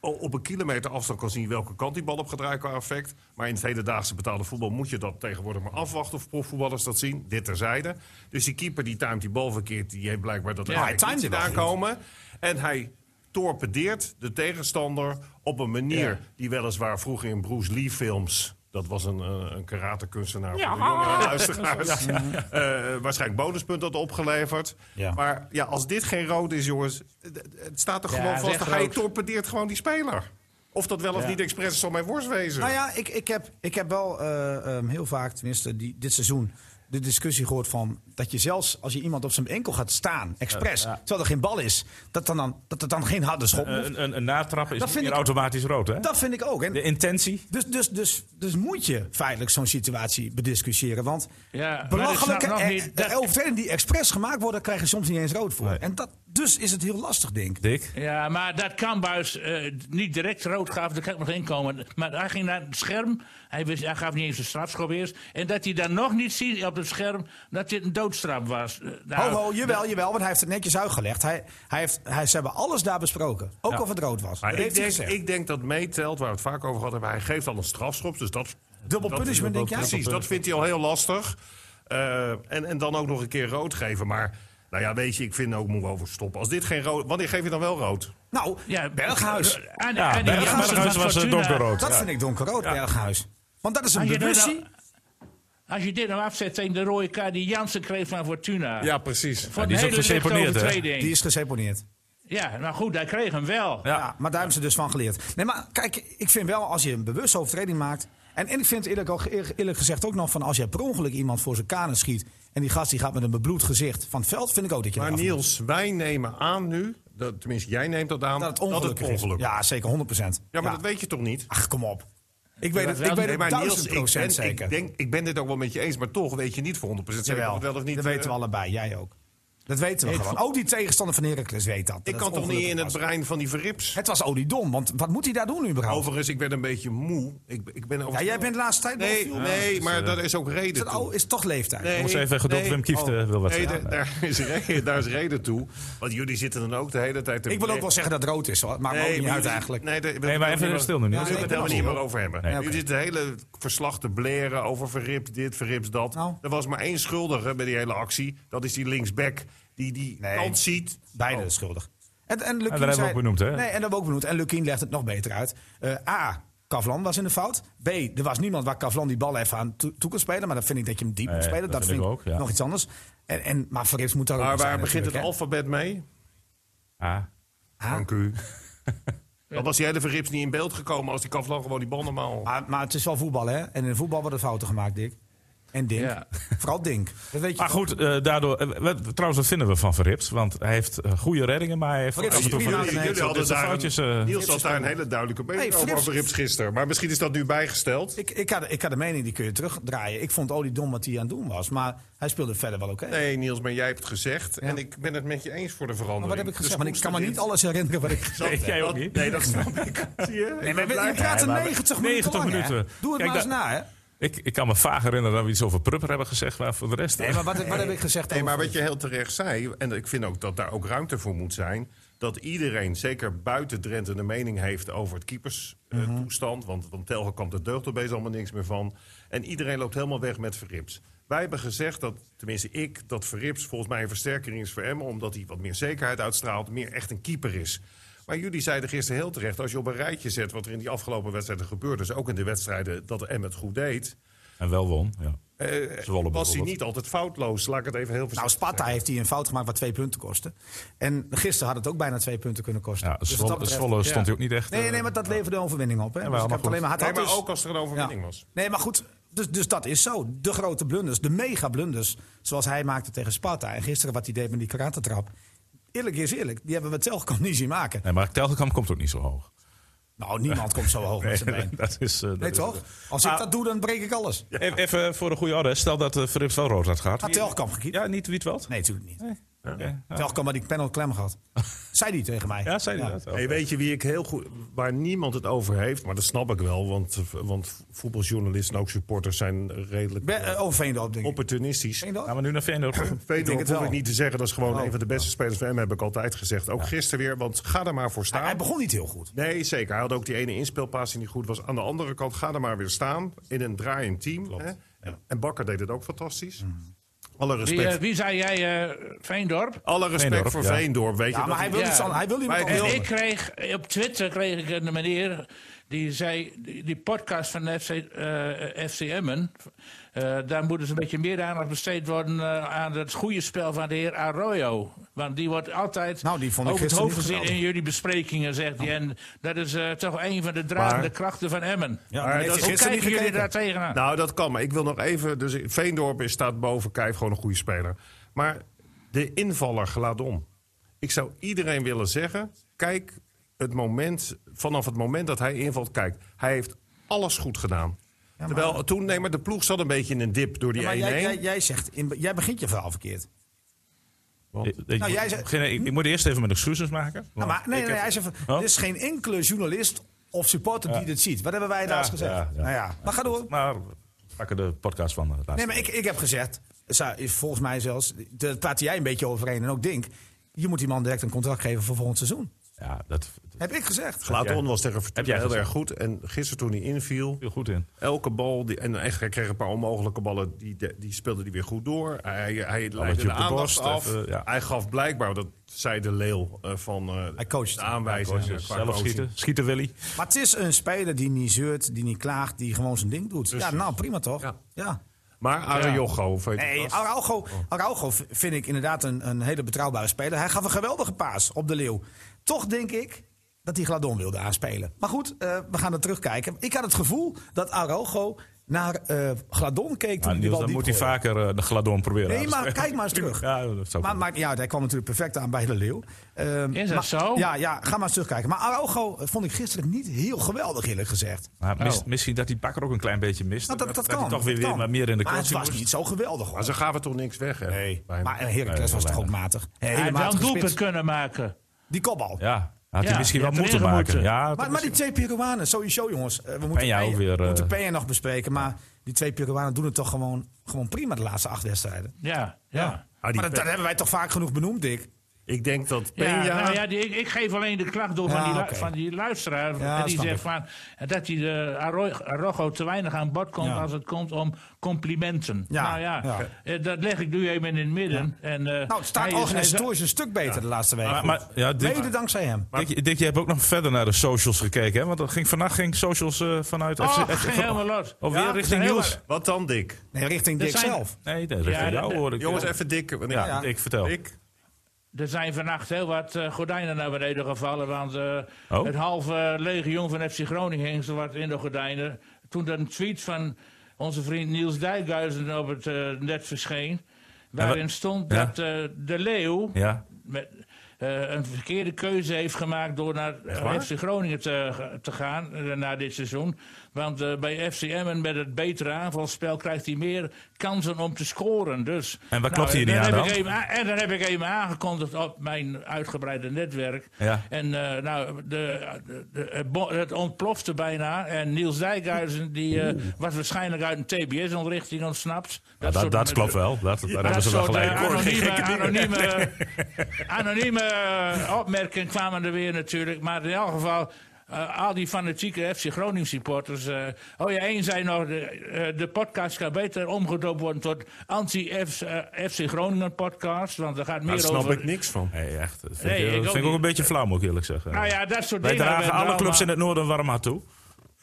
Speaker 4: o- op een kilometer afstand kan zien welke kant die bal op gaat draaien qua effect. Maar in het hedendaagse betaalde voetbal moet je dat tegenwoordig maar afwachten. Of profvoetballers dat zien. Dit terzijde. Dus die keeper die timed die bal verkeerd. Die heeft blijkbaar dat
Speaker 2: hij timed
Speaker 4: niet
Speaker 2: die wel goed.
Speaker 4: aankomen. En hij torpedeert de tegenstander op een manier
Speaker 5: Ja.
Speaker 4: die weliswaar vroeger in Bruce Lee films... Dat was een, eh, een karatekunstenaar voor de jongere luisteraars. Eh, waarschijnlijk bonuspunt had opgeleverd.
Speaker 2: Ja.
Speaker 4: Maar ja, als dit geen rood is, jongens... Het, het staat er
Speaker 5: Ja,
Speaker 4: gewoon
Speaker 5: het is
Speaker 4: vast.
Speaker 5: echt
Speaker 4: Hij
Speaker 5: rood.
Speaker 4: torpedeert gewoon die speler. Of dat wel of niet expres zal mijn worst wezen.
Speaker 2: Nou ja, ik, ik, heb, ik heb wel eh, ehm, heel vaak, tenminste die, dit seizoen, de discussie gehoord van dat je zelfs als je iemand op zijn enkel gaat staan, expres, terwijl er geen bal is, dat, dan dan, dat het dan geen harde schop moet.
Speaker 1: Een, een, een natrap is
Speaker 2: Dat
Speaker 1: niet
Speaker 2: vind
Speaker 1: meer
Speaker 2: ik-
Speaker 1: automatisch rood, hè?
Speaker 2: Dat vind ik ook.
Speaker 1: De
Speaker 2: En
Speaker 1: intentie.
Speaker 2: dus, dus, dus, dus moet je feitelijk zo'n situatie bediscussiëren. Want
Speaker 5: Ja, maar
Speaker 2: belachelijke
Speaker 5: ik snap nog
Speaker 2: eh,
Speaker 5: niet dat-
Speaker 2: eh, overtredingen die expres gemaakt worden, krijg je soms niet eens rood voor.
Speaker 1: Nee.
Speaker 2: En dat, dus is het heel lastig, denk ik.
Speaker 1: Dick.
Speaker 5: Ja, maar dat Kambuis eh niet direct rood gaf, daar kan ik nog in komen. Maar hij ging naar het scherm, hij, wist, hij gaf niet eens een strafschop eerst. En dat hij dan nog niet ziet op het scherm dat dit een doodstraf was. Eh, nou,
Speaker 2: Ho, ho, jawel, jawel, want hij heeft het netjes uitgelegd. Hij, hij heeft, hij, ze hebben alles daar besproken. Ook of het rood was.
Speaker 4: Maar
Speaker 2: Dat
Speaker 4: ik
Speaker 2: heeft hij
Speaker 4: denk,
Speaker 2: gezegd.
Speaker 4: ik denk dat meetelt, waar we het vaak over gehad hebben. Hij geeft al een strafschop, dus dat...
Speaker 2: Dubbel
Speaker 4: dat-
Speaker 2: punishment, denk jij?
Speaker 4: Precies, dat vindt hij al heel lastig. Eh, en, en dan ook nog een keer rood geven. Maar, nou ja, weet je, ik vind ook, moeten we over stoppen. Als dit geen rood... Wanneer geef je dan wel rood?
Speaker 2: Nou,
Speaker 5: ja,
Speaker 2: Berghuis.
Speaker 5: eh, aan-
Speaker 1: Ja,
Speaker 5: aan die
Speaker 1: Berghuis,
Speaker 5: gasten van
Speaker 1: Berghuis was eh,
Speaker 5: Fortuna.
Speaker 1: donkerrood.
Speaker 2: Dat
Speaker 1: Ja.
Speaker 2: vind ik donkerrood, Berghuis. Want dat is een
Speaker 5: Als je dit
Speaker 2: bewustie.
Speaker 5: nou- Als je dit nou afzet tegen de rode kaart die Jansen kreeg van Fortuna.
Speaker 4: precies.
Speaker 5: Voor
Speaker 1: Ja, die
Speaker 5: een
Speaker 1: is ook
Speaker 5: hele lichte
Speaker 1: geseponeerd, hè?
Speaker 5: overtreding.
Speaker 2: Die is geseponeerd.
Speaker 5: Ja, nou goed, hij kreeg hem wel.
Speaker 2: Ja. maar daar hebben ze dus van geleerd. Nee, maar kijk, ik vind wel als je een bewuste overtreding maakt. En, en ik vind eerlijk, ook, eerlijk gezegd ook nog van als je per ongeluk iemand voor zijn kanen schiet. en die gast die gaat met een bebloed gezicht van het veld. vind ik ook dat je
Speaker 4: Maar
Speaker 2: eraf moet.
Speaker 4: Niels, wij nemen aan nu, dat, tenminste jij neemt dat aan,
Speaker 2: dat het ongeluk,
Speaker 4: het ongeluk
Speaker 2: is. Ja, zeker 100
Speaker 4: Ja, maar dat weet je toch niet?
Speaker 2: Ach, kom op. Ik weet het,
Speaker 5: wel-
Speaker 2: ik weet
Speaker 4: Nee,
Speaker 2: het
Speaker 4: maar
Speaker 2: duizend
Speaker 4: ik, ben,
Speaker 2: procent
Speaker 4: ik,
Speaker 2: zeker.
Speaker 4: denk, ik ben dit ook wel met je eens, maar toch weet je niet voor 100% zeker of
Speaker 2: Jawel,
Speaker 4: het wel of niet.
Speaker 2: dat
Speaker 4: eh,
Speaker 2: weten we allebei, jij ook. Dat weten we
Speaker 5: Ik
Speaker 2: gewoon.
Speaker 5: vond-
Speaker 2: Ook die tegenstander van Heracles weet dat.
Speaker 4: Ik
Speaker 2: dat
Speaker 4: kan toch niet
Speaker 2: ongelukkig
Speaker 4: in het
Speaker 2: was.
Speaker 4: brein van die verrips?
Speaker 2: Het was Odidon, want wat moet hij daar doen überhaupt?
Speaker 4: Overigens, ik ben een beetje moe. Ik, ik ben
Speaker 2: Oh. Ja, jij bent de laatste tijd
Speaker 4: Nee,
Speaker 2: nog veel-
Speaker 4: nee maar daar is ook
Speaker 2: Is
Speaker 4: reden
Speaker 2: dat
Speaker 4: toe.
Speaker 2: ou- is het toch leeftijd?
Speaker 4: Nee,
Speaker 1: eh, Moest even geduld
Speaker 4: nee.
Speaker 1: Wim Kieft
Speaker 2: Oh.
Speaker 1: eh, wil wat
Speaker 4: Nee,
Speaker 1: zeggen.
Speaker 4: daar- daar, is reden, daar is reden toe. Want jullie zitten dan ook de hele tijd te
Speaker 2: Ik wil ook wel zeggen dat het rood is, hoor. maakt me ook niet
Speaker 4: maar
Speaker 2: uit
Speaker 4: jullie-
Speaker 2: eigenlijk.
Speaker 4: Nee, daar-
Speaker 1: Nee, maar even
Speaker 4: daar-
Speaker 1: stil nu.
Speaker 4: Daar
Speaker 1: Niels.
Speaker 4: zullen we het
Speaker 2: Ja,
Speaker 4: helemaal
Speaker 2: nee,
Speaker 4: niet
Speaker 2: ik
Speaker 4: meer over hebben.
Speaker 2: Nee,
Speaker 4: Je
Speaker 2: oké.
Speaker 4: zit het hele verslag te bleren over verrips dit, verrips dat.
Speaker 2: Nou.
Speaker 4: Er was maar één schuldige bij die hele actie. Dat is die linksback die die
Speaker 2: Nee. Oh,
Speaker 4: kant ziet.
Speaker 2: Beide schuldig. En, en Lukien
Speaker 1: dat hebben we
Speaker 2: zei-
Speaker 1: ook benoemd, hè?
Speaker 2: Nee, en dat hebben we ook benoemd. En Lukien legt het nog beter uit. Eh, A. Kavlan was in de fout. B. Er was niemand waar Kavlan die bal even aan toe, toe kon spelen. Maar dat vind ik dat je hem diep moet
Speaker 1: Nee,
Speaker 2: spelen. Dat, vind ik
Speaker 1: ook, ja.
Speaker 2: nog iets anders. En, en, maar Verrips moet daar ook
Speaker 4: Maar
Speaker 2: zijn
Speaker 4: waar begint het
Speaker 2: natuurlijk,
Speaker 4: alfabet mee?
Speaker 1: Ah.
Speaker 4: Dank u. Dan was die hele verrips niet in beeld gekomen als die Kavlan gewoon die bal normaal...
Speaker 2: hè? Maar, maar het is wel voetbal, hè? En in voetbal worden fouten gemaakt, Dick. En Dink.
Speaker 5: Ja.
Speaker 2: Vooral Dink. Dat weet je
Speaker 1: Maar
Speaker 2: toch?
Speaker 1: goed, eh, daardoor. eh, wat- trouwens, wat vinden we van Verrips? Want hij heeft eh, goede reddingen, maar hij heeft
Speaker 2: Verrips
Speaker 1: af en toe
Speaker 2: is
Speaker 1: van-
Speaker 2: prima.
Speaker 1: dit
Speaker 2: nee,
Speaker 4: jullie
Speaker 1: soort
Speaker 4: hadden daar
Speaker 1: foutjes. eh,
Speaker 4: een, Niels had daar een hele duidelijke mening
Speaker 2: Hey,
Speaker 4: over
Speaker 2: Verrips-
Speaker 4: Verrips gisteren. Maar misschien is dat nu bijgesteld.
Speaker 2: Ik, ik, had, ik had de mening, die kun je terugdraaien. Ik vond Odidon wat hij aan het doen was. Maar hij speelde verder wel oké.
Speaker 4: Nee, Niels, maar jij hebt het gezegd. En ik ben het met je eens voor de verandering.
Speaker 2: Maar wat heb ik
Speaker 4: Dus
Speaker 2: gezegd? Maar ik
Speaker 4: koester
Speaker 2: kan me
Speaker 4: dit.
Speaker 2: niet alles herinneren wat ik gezegd
Speaker 1: Nee,
Speaker 2: heb.
Speaker 1: jij ook niet.
Speaker 4: Nee, dat snap ik. Zie je?
Speaker 2: Nee, maar
Speaker 4: Ik ben
Speaker 2: we
Speaker 4: blij.
Speaker 2: je praat er
Speaker 1: Nee, maar-
Speaker 2: 90 minuten
Speaker 1: 90
Speaker 2: lang, hè?
Speaker 1: minuten.
Speaker 2: Doe het
Speaker 1: Kijk,
Speaker 2: maar eens
Speaker 1: dat-
Speaker 2: na, hè?
Speaker 1: Ik, ik kan me vaag herinneren dat we iets over Prupper hebben gezegd, maar voor de rest... eh,
Speaker 2: Nee, maar wat, wat heb ik gezegd?
Speaker 4: Nee, maar
Speaker 2: over-
Speaker 4: wat je heel terecht zei, en ik vind ook dat daar ook ruimte voor moet zijn. Dat iedereen, zeker buiten Drenthe, een mening heeft over het keeperstoestand. Want van Telgekamp, daar deugt opeens allemaal niks meer van. En iedereen loopt helemaal weg met Verrips. Wij hebben gezegd dat, tenminste ik, dat Verrips volgens mij een versterking is voor Emmen. Omdat hij wat meer zekerheid uitstraalt, meer echt een keeper is. Maar jullie zeiden gisteren heel terecht, als je op een rijtje zet wat er in die afgelopen wedstrijden gebeurde. Dus ook in de wedstrijden dat Emmen het goed deed.
Speaker 1: En wel won, ja.
Speaker 2: Eh,
Speaker 1: Zwolle
Speaker 4: was hij
Speaker 1: bijvoorbeeld.
Speaker 4: niet altijd foutloos? Laat ik het even heel
Speaker 2: Nou,
Speaker 4: voorzichtig
Speaker 2: Sparta heeft hier een fout gemaakt wat twee punten kostte. En gisteren had het ook bijna twee punten kunnen kosten.
Speaker 1: Ja,
Speaker 2: Dus wat
Speaker 1: Zwolle,
Speaker 2: dat betreft-
Speaker 1: Zwolle stond
Speaker 4: ja.
Speaker 1: hij ook niet echt...
Speaker 2: Nee,
Speaker 1: eh,
Speaker 2: nee, maar dat leverde een overwinning op. Hè? Dus
Speaker 1: maar
Speaker 2: ik heb het
Speaker 1: goed.
Speaker 2: alleen maar, had
Speaker 4: Nee,
Speaker 2: dat
Speaker 4: maar
Speaker 2: is-
Speaker 4: ook als er een overwinning was.
Speaker 2: Nee, maar goed. Dus, dus dat is zo. De grote blunders, de mega blunders. Zoals hij maakte tegen Sparta. En gisteren wat hij deed met die karatentrap. Eerlijk is eerlijk. Die hebben we Telgekamp niet zien maken.
Speaker 1: Nee, maar Telgekamp komt ook niet zo hoog.
Speaker 2: Nou, niemand komt zo hoog met zijn been. Nee,
Speaker 1: dat is, eh, dat is-
Speaker 2: toch? Als ik dat doe, dan breek ik alles.
Speaker 1: Even, even voor de goede orde. Stel dat eh Verrips wel rood had gehad.
Speaker 2: Had Telgekamp gekiept?
Speaker 1: Ja, niet Wietveld?
Speaker 2: Nee, natuurlijk niet.
Speaker 1: Ja.
Speaker 2: Telgekamp had die panel klem gehad. Zei die tegen mij.
Speaker 1: Ja, zei hij dat?
Speaker 4: Hey, weet je wie ik heel goed, waar niemand het over heeft, maar dat snap ik wel, want, want voetbaljournalisten en ook supporters zijn redelijk
Speaker 2: Be- eh, oh, Veendorp, denk ik.
Speaker 4: opportunistisch.
Speaker 2: Veendorp?
Speaker 1: Gaan we nu naar Feyenoord?
Speaker 4: Weet
Speaker 2: denk het
Speaker 4: hoef
Speaker 2: wel. Oh.
Speaker 4: ik niet te zeggen, dat is gewoon een van de beste spelers van hem, heb ik altijd gezegd. Ook gisteren weer, want ga er maar voor staan.
Speaker 2: Hij begon niet heel goed.
Speaker 4: Nee, zeker. Hij had ook die ene inspeelpaas die niet goed was. Aan de andere kant, ga er maar weer staan in een draaiend team. Hè? En, en Bakker deed het ook fantastisch.
Speaker 1: Mhm.
Speaker 4: Alle
Speaker 5: Wie,
Speaker 4: respect,
Speaker 5: eh, wie zei jij, eh Veendorp?
Speaker 4: alle respect
Speaker 1: Veendorp,
Speaker 4: voor
Speaker 1: ja.
Speaker 4: Veendorp. Weet
Speaker 2: Ja, maar
Speaker 4: je, dat
Speaker 2: hij
Speaker 4: hij-
Speaker 2: wil
Speaker 5: Ja.
Speaker 2: niet zo- hij wil
Speaker 4: Maar
Speaker 2: iemand
Speaker 4: ik wil-
Speaker 5: En
Speaker 2: anders.
Speaker 5: ik kreeg, op Twitter kreeg ik een meneer die zei, die, die podcast van de FC, eh FCM'en, eh, daar moet dus een beetje meer aandacht besteed worden eh, aan het goede spel van de heer Arroyo. Want die wordt altijd
Speaker 2: Nou, die vond ik
Speaker 5: over het
Speaker 2: gisteren niet
Speaker 5: hoofd gezien in
Speaker 2: geweldig. Oh.
Speaker 5: jullie besprekingen, zegt hij. En dat is eh, toch een van de dragende
Speaker 4: Maar-
Speaker 5: krachten van Emmen.
Speaker 2: maar heeft hij
Speaker 5: Hoe
Speaker 2: gisteren
Speaker 5: kijken
Speaker 2: niet
Speaker 5: jullie
Speaker 2: gekeken?
Speaker 5: daar tegenaan?
Speaker 4: Nou, dat kan. Maar ik wil nog even. Dus Veendorp is- staat boven Kijf gewoon een goede speler. Maar de invaller laat om. Ik zou iedereen willen zeggen: kijk het moment, vanaf het moment dat hij invalt, kijk, hij heeft alles goed gedaan. Terwijl toen, nee, maar de ploeg zat een beetje in een dip door die 1-1.
Speaker 2: Maar jij, jij, jij zegt, in, jij begint je verhaal verkeerd. Nou, jij zei-
Speaker 1: Geen- ik, ik moet eerst even mijn excuses maken.
Speaker 2: Ja, Nou, maar, nee,
Speaker 1: Ik
Speaker 2: nee,
Speaker 1: heb-
Speaker 2: hij zegt,
Speaker 1: Oh?
Speaker 2: van, er is geen enkele journalist of supporter die dit ziet. Wat hebben wij daar eens gezegd?
Speaker 1: ja, ja.
Speaker 2: Nou ja, maar ga door.
Speaker 1: Maar we pakken de podcast van eh, laatst.
Speaker 2: Nee, maar ik, ik heb gezegd, zou- volgens mij zelfs, daar praat jij een beetje overheen en ook Dink. Je moet die man direct een contract geven voor volgend seizoen.
Speaker 1: Ja, dat
Speaker 2: Heb ik gezegd.
Speaker 4: Glaton was tegen Fortuna
Speaker 1: jij
Speaker 4: heel
Speaker 1: gezegd?
Speaker 4: erg goed. En gisteren toen hij inviel,
Speaker 1: viel goed in.
Speaker 4: elke bal... Die, en echt, hij kreeg een paar onmogelijke ballen, die, die speelde hij weer goed door. Hij, hij leidde
Speaker 1: op
Speaker 4: de
Speaker 1: de
Speaker 4: aandacht
Speaker 1: borst,
Speaker 4: af.
Speaker 1: even, ja.
Speaker 4: Hij gaf blijkbaar, dat zei de leeuw eh, van eh,
Speaker 2: Hij coacht.
Speaker 4: de aanwijzing.
Speaker 1: Dus
Speaker 4: eh, qua
Speaker 1: zelf
Speaker 4: coaching.
Speaker 1: schieten. Schieten Willy.
Speaker 2: Maar het is een speler die niet zeurt, die niet klaagt, die gewoon zijn ding doet. Ja, nou prima toch?
Speaker 4: Ja.
Speaker 2: ja.
Speaker 4: Maar Ariogo, of weet je
Speaker 2: Nee,
Speaker 4: wat?
Speaker 2: Araujo, Araujo v- vind ik inderdaad een, een hele betrouwbare speler. Hij gaf een geweldige paas op de Leeuw. Toch denk ik dat hij Gladon wilde aanspelen. Maar goed, eh, we gaan er terugkijken. Ik had het gevoel dat Araujo naar eh, Gladon keek
Speaker 1: Maar
Speaker 2: toen hij die
Speaker 1: Ah, Niels,
Speaker 2: bal
Speaker 1: dan
Speaker 2: diep
Speaker 1: moet hij
Speaker 2: gooide.
Speaker 1: vaker eh, de gladon proberen.
Speaker 2: Nee,
Speaker 1: aan te
Speaker 2: maar
Speaker 1: spelen.
Speaker 2: kijk maar eens terug.
Speaker 1: Ja, dat zou
Speaker 2: Maar,
Speaker 1: kunnen.
Speaker 2: maar ja, hij kwam natuurlijk perfect aan bij de Leeuw. Ehm,
Speaker 5: Is dat
Speaker 2: maar-
Speaker 5: zo?
Speaker 2: Ja, ja, ga maar eens terugkijken. Maar Araujo eh, vond ik gisteren niet heel geweldig, eerlijk gezegd.
Speaker 1: Maar mis- misschien dat die bakker ook een klein beetje mist.
Speaker 2: Nou, dat, dat,
Speaker 1: hij
Speaker 2: kan.
Speaker 1: toch weer,
Speaker 2: dat
Speaker 1: weer
Speaker 2: kan.
Speaker 1: maar meer in de
Speaker 2: Maar het
Speaker 1: coaching
Speaker 2: was
Speaker 1: moest.
Speaker 2: niet zo geweldig, hoor.
Speaker 4: Maar ze gaven toch niks weg, hè? Nee.
Speaker 2: Maar
Speaker 1: eh,
Speaker 2: een Heracles was toch ook matig. Een hele
Speaker 5: Hij had wel een
Speaker 2: matige
Speaker 5: doelpunt
Speaker 2: spits.
Speaker 5: kunnen maken.
Speaker 2: Die kopbal.
Speaker 1: Ja, had hij
Speaker 5: Ja,
Speaker 1: misschien
Speaker 5: je
Speaker 1: wel
Speaker 5: hebt
Speaker 1: moeten
Speaker 5: erin
Speaker 1: maken.
Speaker 5: gemoeten.
Speaker 1: Ja,
Speaker 2: Maar, maar die twee Peruanen, sowieso jongens. Eh, we moeten
Speaker 1: Peña ook weer,
Speaker 2: we
Speaker 1: eh,
Speaker 2: moeten Peña nog bespreken. Maar die twee Peruanen doen het toch gewoon, gewoon prima de laatste acht wedstrijden.
Speaker 5: Ja, ja.
Speaker 4: Ah,
Speaker 2: maar
Speaker 4: die
Speaker 2: dat,
Speaker 4: Pe-
Speaker 2: dat hebben wij toch vaak genoeg benoemd, Dick?
Speaker 4: Ik denk dat Peña...
Speaker 5: Ja, nou ja, die- ik, ik geef alleen de klacht door
Speaker 2: Ja,
Speaker 5: van, die, lu-
Speaker 2: Ah, oké.
Speaker 5: van die luisteraar.
Speaker 2: Ja,
Speaker 5: en die
Speaker 2: snap
Speaker 5: zegt
Speaker 2: ik.
Speaker 5: van, dat die eh, Arroy- Arrojo te weinig aan bod komt
Speaker 2: Ja.
Speaker 5: als het komt om complimenten.
Speaker 2: Ja,
Speaker 5: nou ja,
Speaker 2: ja.
Speaker 5: eh, dat leg ik nu even in het midden. En, eh,
Speaker 2: Nou, het staat
Speaker 5: hij is- hij
Speaker 2: organisatorisch een stuk beter de laatste weken.
Speaker 1: Ah, Maar- maar- ja, Dick-
Speaker 2: Mede dankzij hem.
Speaker 1: Maar- Dick, Dick, je hebt ook nog verder naar de socials gekeken, hè? Want dat ging, vannacht ging socials eh, vanuit...
Speaker 5: is-
Speaker 1: FC
Speaker 5: Och, ging Oh, helemaal los.
Speaker 1: Of weer
Speaker 5: Ja,
Speaker 1: richting
Speaker 5: helemaal-
Speaker 1: Niels.
Speaker 4: Wat dan, Dick?
Speaker 2: Nee, richting
Speaker 5: Er
Speaker 2: Dick
Speaker 5: zijn-
Speaker 2: zelf.
Speaker 1: Nee, dat richting
Speaker 5: Ja,
Speaker 1: jou
Speaker 5: dat-
Speaker 1: hoor ik.
Speaker 4: Jongens,
Speaker 1: Ja.
Speaker 4: even Dick. want ik-
Speaker 1: Ja, ik vertel.
Speaker 4: Dick?
Speaker 5: Er zijn vannacht heel wat eh, gordijnen naar beneden gevallen. Want eh,
Speaker 1: Oh.
Speaker 5: het halve legioen van FC Groningen hing zo wat in de gordijnen. Toen er een tweet van onze vriend Niels Dijkhuizen op het eh, net verscheen. Waarin stond
Speaker 1: Ja.
Speaker 5: dat eh, de leeuw
Speaker 1: Ja.
Speaker 5: met, eh, een verkeerde keuze heeft gemaakt door naar
Speaker 4: waar?
Speaker 5: FC Groningen te, te gaan eh, na dit seizoen. Want eh, bij FC Emmen met het betere aanvalspel krijgt hij meer kansen om te scoren. Dus,
Speaker 1: En waar klopt hij niet
Speaker 5: dan
Speaker 1: aan
Speaker 5: heb
Speaker 1: dan?
Speaker 5: Ik hem a- en dan heb ik hem aangekondigd op mijn uitgebreide netwerk.
Speaker 1: Ja.
Speaker 5: En eh, nou, de, de- de- het bo- het ontplofte bijna. En Niels Dijkhuizen die, eh, was waarschijnlijk uit een TBS-ontrichting ontsnapt.
Speaker 1: Ja, dat,
Speaker 5: soort-
Speaker 1: dat klopt wel. Dat, daar hebben ze wel
Speaker 5: soort,
Speaker 1: gelijk.
Speaker 5: eh,
Speaker 1: in.
Speaker 5: anonieme,
Speaker 4: gekke dingen.
Speaker 5: anonieme, anonieme eh, opmerkingen kwamen er weer natuurlijk. Maar in elk geval, eh, al die fanatieke FC Groningen supporters. eh, oh ja, één zei nog, de, eh, de podcast kan beter omgedoopt worden tot anti-FC eh, Groningen podcast. Want er gaat meer
Speaker 4: Daar snap
Speaker 5: over...
Speaker 4: ik niks van.
Speaker 1: Nee, echt. Dat vind,
Speaker 5: Nee,
Speaker 1: ik,
Speaker 5: ik
Speaker 1: dat
Speaker 5: ook
Speaker 1: vind ik ook
Speaker 5: niet.
Speaker 1: een beetje flauw, moet ik eerlijk zeggen.
Speaker 5: Nou ja, dat soort
Speaker 1: Wij
Speaker 5: dingen.
Speaker 1: dragen
Speaker 5: hebben
Speaker 1: alle
Speaker 5: wel,
Speaker 1: clubs
Speaker 5: maar-
Speaker 1: in het noorden warm hart toe.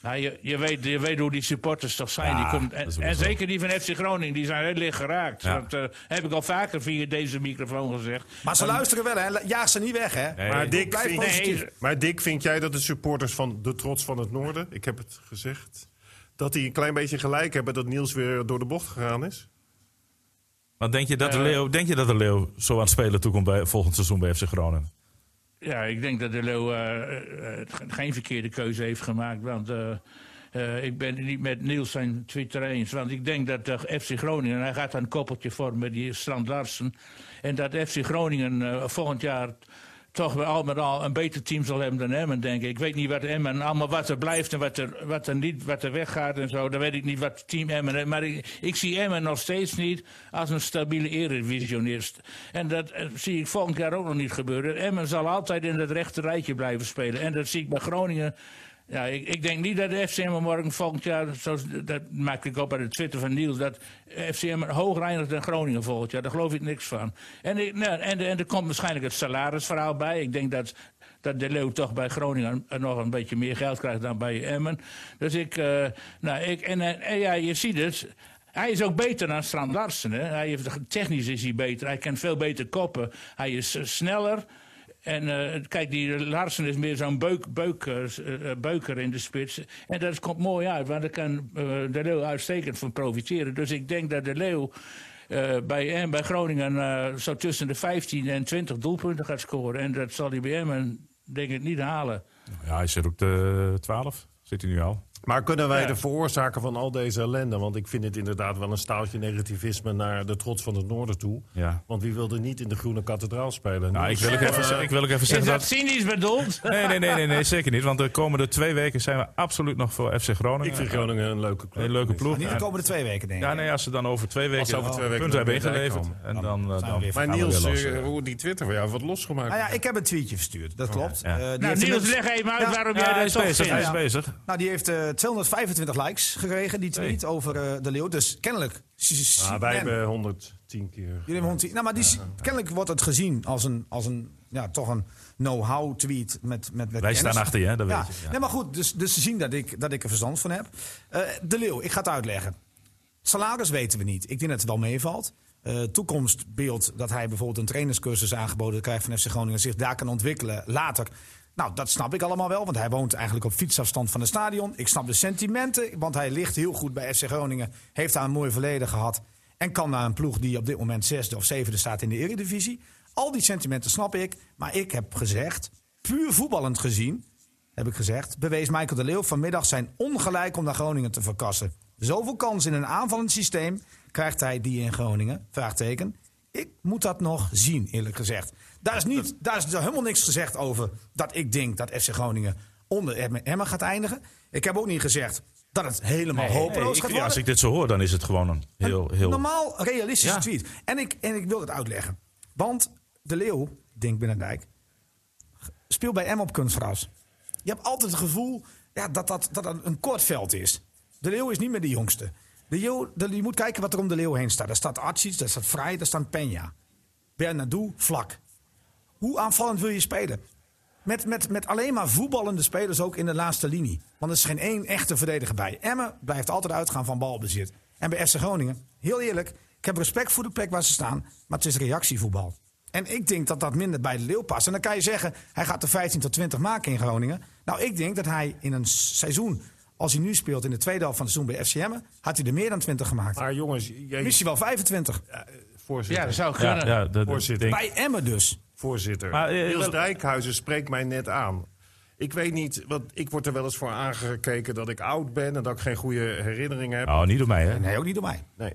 Speaker 5: Nou, je, je, weet, je weet hoe die supporters toch zijn.
Speaker 1: Ja,
Speaker 5: die komt,
Speaker 1: dat
Speaker 5: en
Speaker 1: is wel
Speaker 5: en
Speaker 1: zo.
Speaker 5: zeker die van FC Groningen, die zijn heel licht geraakt.
Speaker 1: Ja.
Speaker 5: Dat eh, heb ik al vaker via deze microfoon gezegd.
Speaker 2: Maar ze luisteren wel, hè? Jaag ze niet weg, hè?
Speaker 1: Nee.
Speaker 4: Maar Dick,
Speaker 2: Blijf
Speaker 4: vind,
Speaker 5: positief.
Speaker 4: Nee. maar Dick, vind jij dat de supporters van de Trots van het Noorden, ik heb het gezegd, dat die een klein beetje gelijk hebben dat Niels weer door de bocht gegaan is?
Speaker 1: Want denk je dat de Leeuw, denk je dat de Leeuw zo aan het spelen toekomt bij, volgend seizoen bij FC Groningen?
Speaker 5: Ja, ik denk dat de Leeuw eh, eh, ge- geen verkeerde keuze heeft gemaakt. Want eh, eh, ik ben het niet met Niels zijn Twitter eens. Want ik denk dat eh, FC Groningen, hij gaat een koppeltje vormen met die Strand Larsen. En dat FC Groningen eh, volgend jaar toch wel al met al een beter team zal hebben dan Emmen, denk ik. Ik weet niet wat Emmen allemaal wat er blijft en wat er, wat er niet, wat er weggaat en zo. Dan weet ik niet wat team Emmen heeft. Maar ik, ik zie Emmen nog steeds niet als een stabiele eredivisionist. En dat eh, zie ik volgend jaar ook nog niet gebeuren. Emmen zal altijd in het rechte rijtje blijven spelen. En dat zie ik bij Groningen. Ja, ik, ik denk niet dat de FC Emmen morgen volgend jaar, zoals, dat maak ik op uit de Twitter van Niels, dat FC Emmen hoger eindigt dan Groningen volgend jaar. Daar geloof ik niks van. En, ik, nou, en, en er komt waarschijnlijk het salarisverhaal bij. Ik denk dat, dat De Leeuw toch bij Groningen nog een beetje meer geld krijgt dan bij Emmen. Dus ik, eh, nou, ik en, en- en ja, je ziet het. Hij is ook beter dan Strand Larsen. Hè? Hij heeft, technisch is hij beter. Hij kan veel beter koppen. Hij is eh, sneller. En eh, kijk, die Larsen is meer zo'n beuk, beuk, eh, s- eh, beuker in de spits. En dat komt mooi uit, want daar kan eh, De Leeuw uitstekend van profiteren. Dus ik denk dat De Leeuw eh, bij, en bij Groningen eh, zo tussen de 15 en 20 doelpunten gaat scoren. En dat zal hij bij Emmen denk ik niet halen.
Speaker 1: Ja, hij zit op de 12. Zit hij nu al.
Speaker 4: Maar kunnen wij
Speaker 5: Ja.
Speaker 4: de veroorzaker van al deze ellende, want ik vind het inderdaad wel een staaltje negativisme naar de Trots van het Noorden toe.
Speaker 1: Ja.
Speaker 4: Want wie wilde niet in de Groene Kathedraal spelen?
Speaker 1: Nou, ik
Speaker 4: Niels,
Speaker 1: wil ook even, ze- ik wil ook even
Speaker 5: Is
Speaker 1: zeggen
Speaker 5: dat Nou,
Speaker 1: dat...
Speaker 5: cynisch bedoeld?
Speaker 1: Nee, nee, nee, nee, nee, zeker niet. Want de komende twee weken zijn we absoluut nog voor FC Groningen.
Speaker 4: ik vind Groningen een leuke club.
Speaker 1: Een leuke ploeg.
Speaker 2: Niet de
Speaker 1: En-
Speaker 2: komende twee weken, denk ik.
Speaker 1: Ja, nee, als ze dan over twee weken,
Speaker 4: ze over twee weken
Speaker 1: punten hebben
Speaker 4: weer
Speaker 1: ingeleverd.
Speaker 4: bijkomen,
Speaker 1: En dan, eh,
Speaker 2: zijn
Speaker 1: dan
Speaker 2: we weer
Speaker 4: Maar
Speaker 1: gaan we
Speaker 4: Niels,
Speaker 1: weer los,
Speaker 4: eh,
Speaker 1: eh.
Speaker 4: hoe die Twitter van jou wordt losgemaakt.
Speaker 2: Nou ja, ik heb een tweetje verstuurd, dat klopt.
Speaker 1: Oh, ja.
Speaker 2: Eh, die
Speaker 5: Nou,
Speaker 2: heeft
Speaker 5: Niels,
Speaker 2: inmiddels-
Speaker 5: leg even uit
Speaker 2: Ja.
Speaker 5: waarom
Speaker 1: Ja,
Speaker 5: jij
Speaker 1: hij
Speaker 5: dat
Speaker 1: is
Speaker 5: zo
Speaker 1: bezig.
Speaker 5: vindt.
Speaker 1: Hij is
Speaker 2: Ja.
Speaker 1: bezig.
Speaker 2: Nou, die heeft eh, 225 likes gekregen, die tweet, over eh, de leeuw. Dus kennelijk...
Speaker 4: Ah, wij hebben 110 keer.
Speaker 2: Jullie hebben hond- Nou, maar die, is- kennelijk wordt het gezien als een, als een ja, toch een know-how tweet met, met, met
Speaker 1: Wij
Speaker 2: kennis.
Speaker 1: staan achter je, hè, dat
Speaker 2: ja.
Speaker 1: weet je. Ja.
Speaker 2: Nee, maar goed, dus, dus ze zien dat ik, dat ik er verstand van heb. Eh, de Leeuw, ik ga het uitleggen. Salaris weten we niet. Ik denk dat het wel meevalt. Eh, toekomstbeeld dat hij bijvoorbeeld een trainerscursus aangeboden krijgt van FC Groningen... en zich daar kan ontwikkelen later... Nou, dat snap ik allemaal wel, want hij woont eigenlijk op fietsafstand van het stadion. Ik snap de sentimenten, want hij ligt heel goed bij FC Groningen. Heeft daar een mooi verleden gehad. En kan naar een ploeg die op dit moment zesde of zevende staat in de Eredivisie. Al die sentimenten snap ik. Maar ik heb gezegd, puur voetballend gezien, heb ik gezegd, bewees Michael de Leeuw vanmiddag zijn ongelijk om naar Groningen te verkassen. Zoveel kans in een aanvallend systeem krijgt hij die in Groningen? Vraagteken. Ik moet dat nog zien, eerlijk gezegd. Daar is, niet, daar is dus helemaal niks gezegd over dat ik denk dat FC Groningen onder Emmen- Emmen gaat eindigen. Ik heb ook niet gezegd dat het helemaal
Speaker 5: Nee,
Speaker 1: Nee,
Speaker 2: hopeloos
Speaker 1: ik-
Speaker 2: gaat
Speaker 1: ja, als
Speaker 2: worden.
Speaker 1: ik dit zo hoor, dan is het gewoon een heel...
Speaker 2: Een
Speaker 1: heel
Speaker 2: normaal realistische
Speaker 1: Ja.
Speaker 2: tweet. En ik, en ik wil dat uitleggen. Want de Leeuw, Dink Binnendijk, speelt bij M op kunstgras. Je hebt altijd het gevoel ja, dat, dat dat dat een kort veld is. De Leeuw is niet meer de jongste. De Leeuw, de- je moet kijken wat er om de Leeuw heen staat. Daar staat Archie, daar staat Vrij, daar staat Peña. Bernardo, vlak. Hoe aanvallend wil je spelen? Met, met, met alleen maar voetballende spelers ook in de laatste linie. Want er is geen één echte verdediger bij. Emmen blijft altijd uitgaan van balbezit. En bij FC Groningen, heel eerlijk, ik heb respect voor de plek waar ze staan. Maar het is reactievoetbal. En ik denk dat dat minder bij de Leeuw past. En dan kan je zeggen, hij gaat er 15 tot 20 maken in Groningen. Nou, ik denk dat hij in een seizoen, als hij nu speelt in de tweede helft van het seizoen bij FC Emmen, had hij er meer dan 20 gemaakt.
Speaker 4: Maar jongens, jij,
Speaker 2: Misschien wel 25.
Speaker 4: voorzitter,
Speaker 5: Ja, dat zou
Speaker 1: ja,
Speaker 5: kunnen.
Speaker 1: ja, dat- dat
Speaker 4: Voorzitter.
Speaker 1: denk ik.
Speaker 2: Bij Emmen dus.
Speaker 4: voorzitter.
Speaker 1: Maar, eh,
Speaker 4: Niels
Speaker 1: wel-
Speaker 4: Dijkhuizen spreekt mij net aan. Ik weet niet, want ik word er wel eens voor aangekeken dat ik oud ben en dat ik geen goede herinneringen heb.
Speaker 1: Oh, niet door mij, hè?
Speaker 2: Nee, ook niet door mij.
Speaker 4: Nee.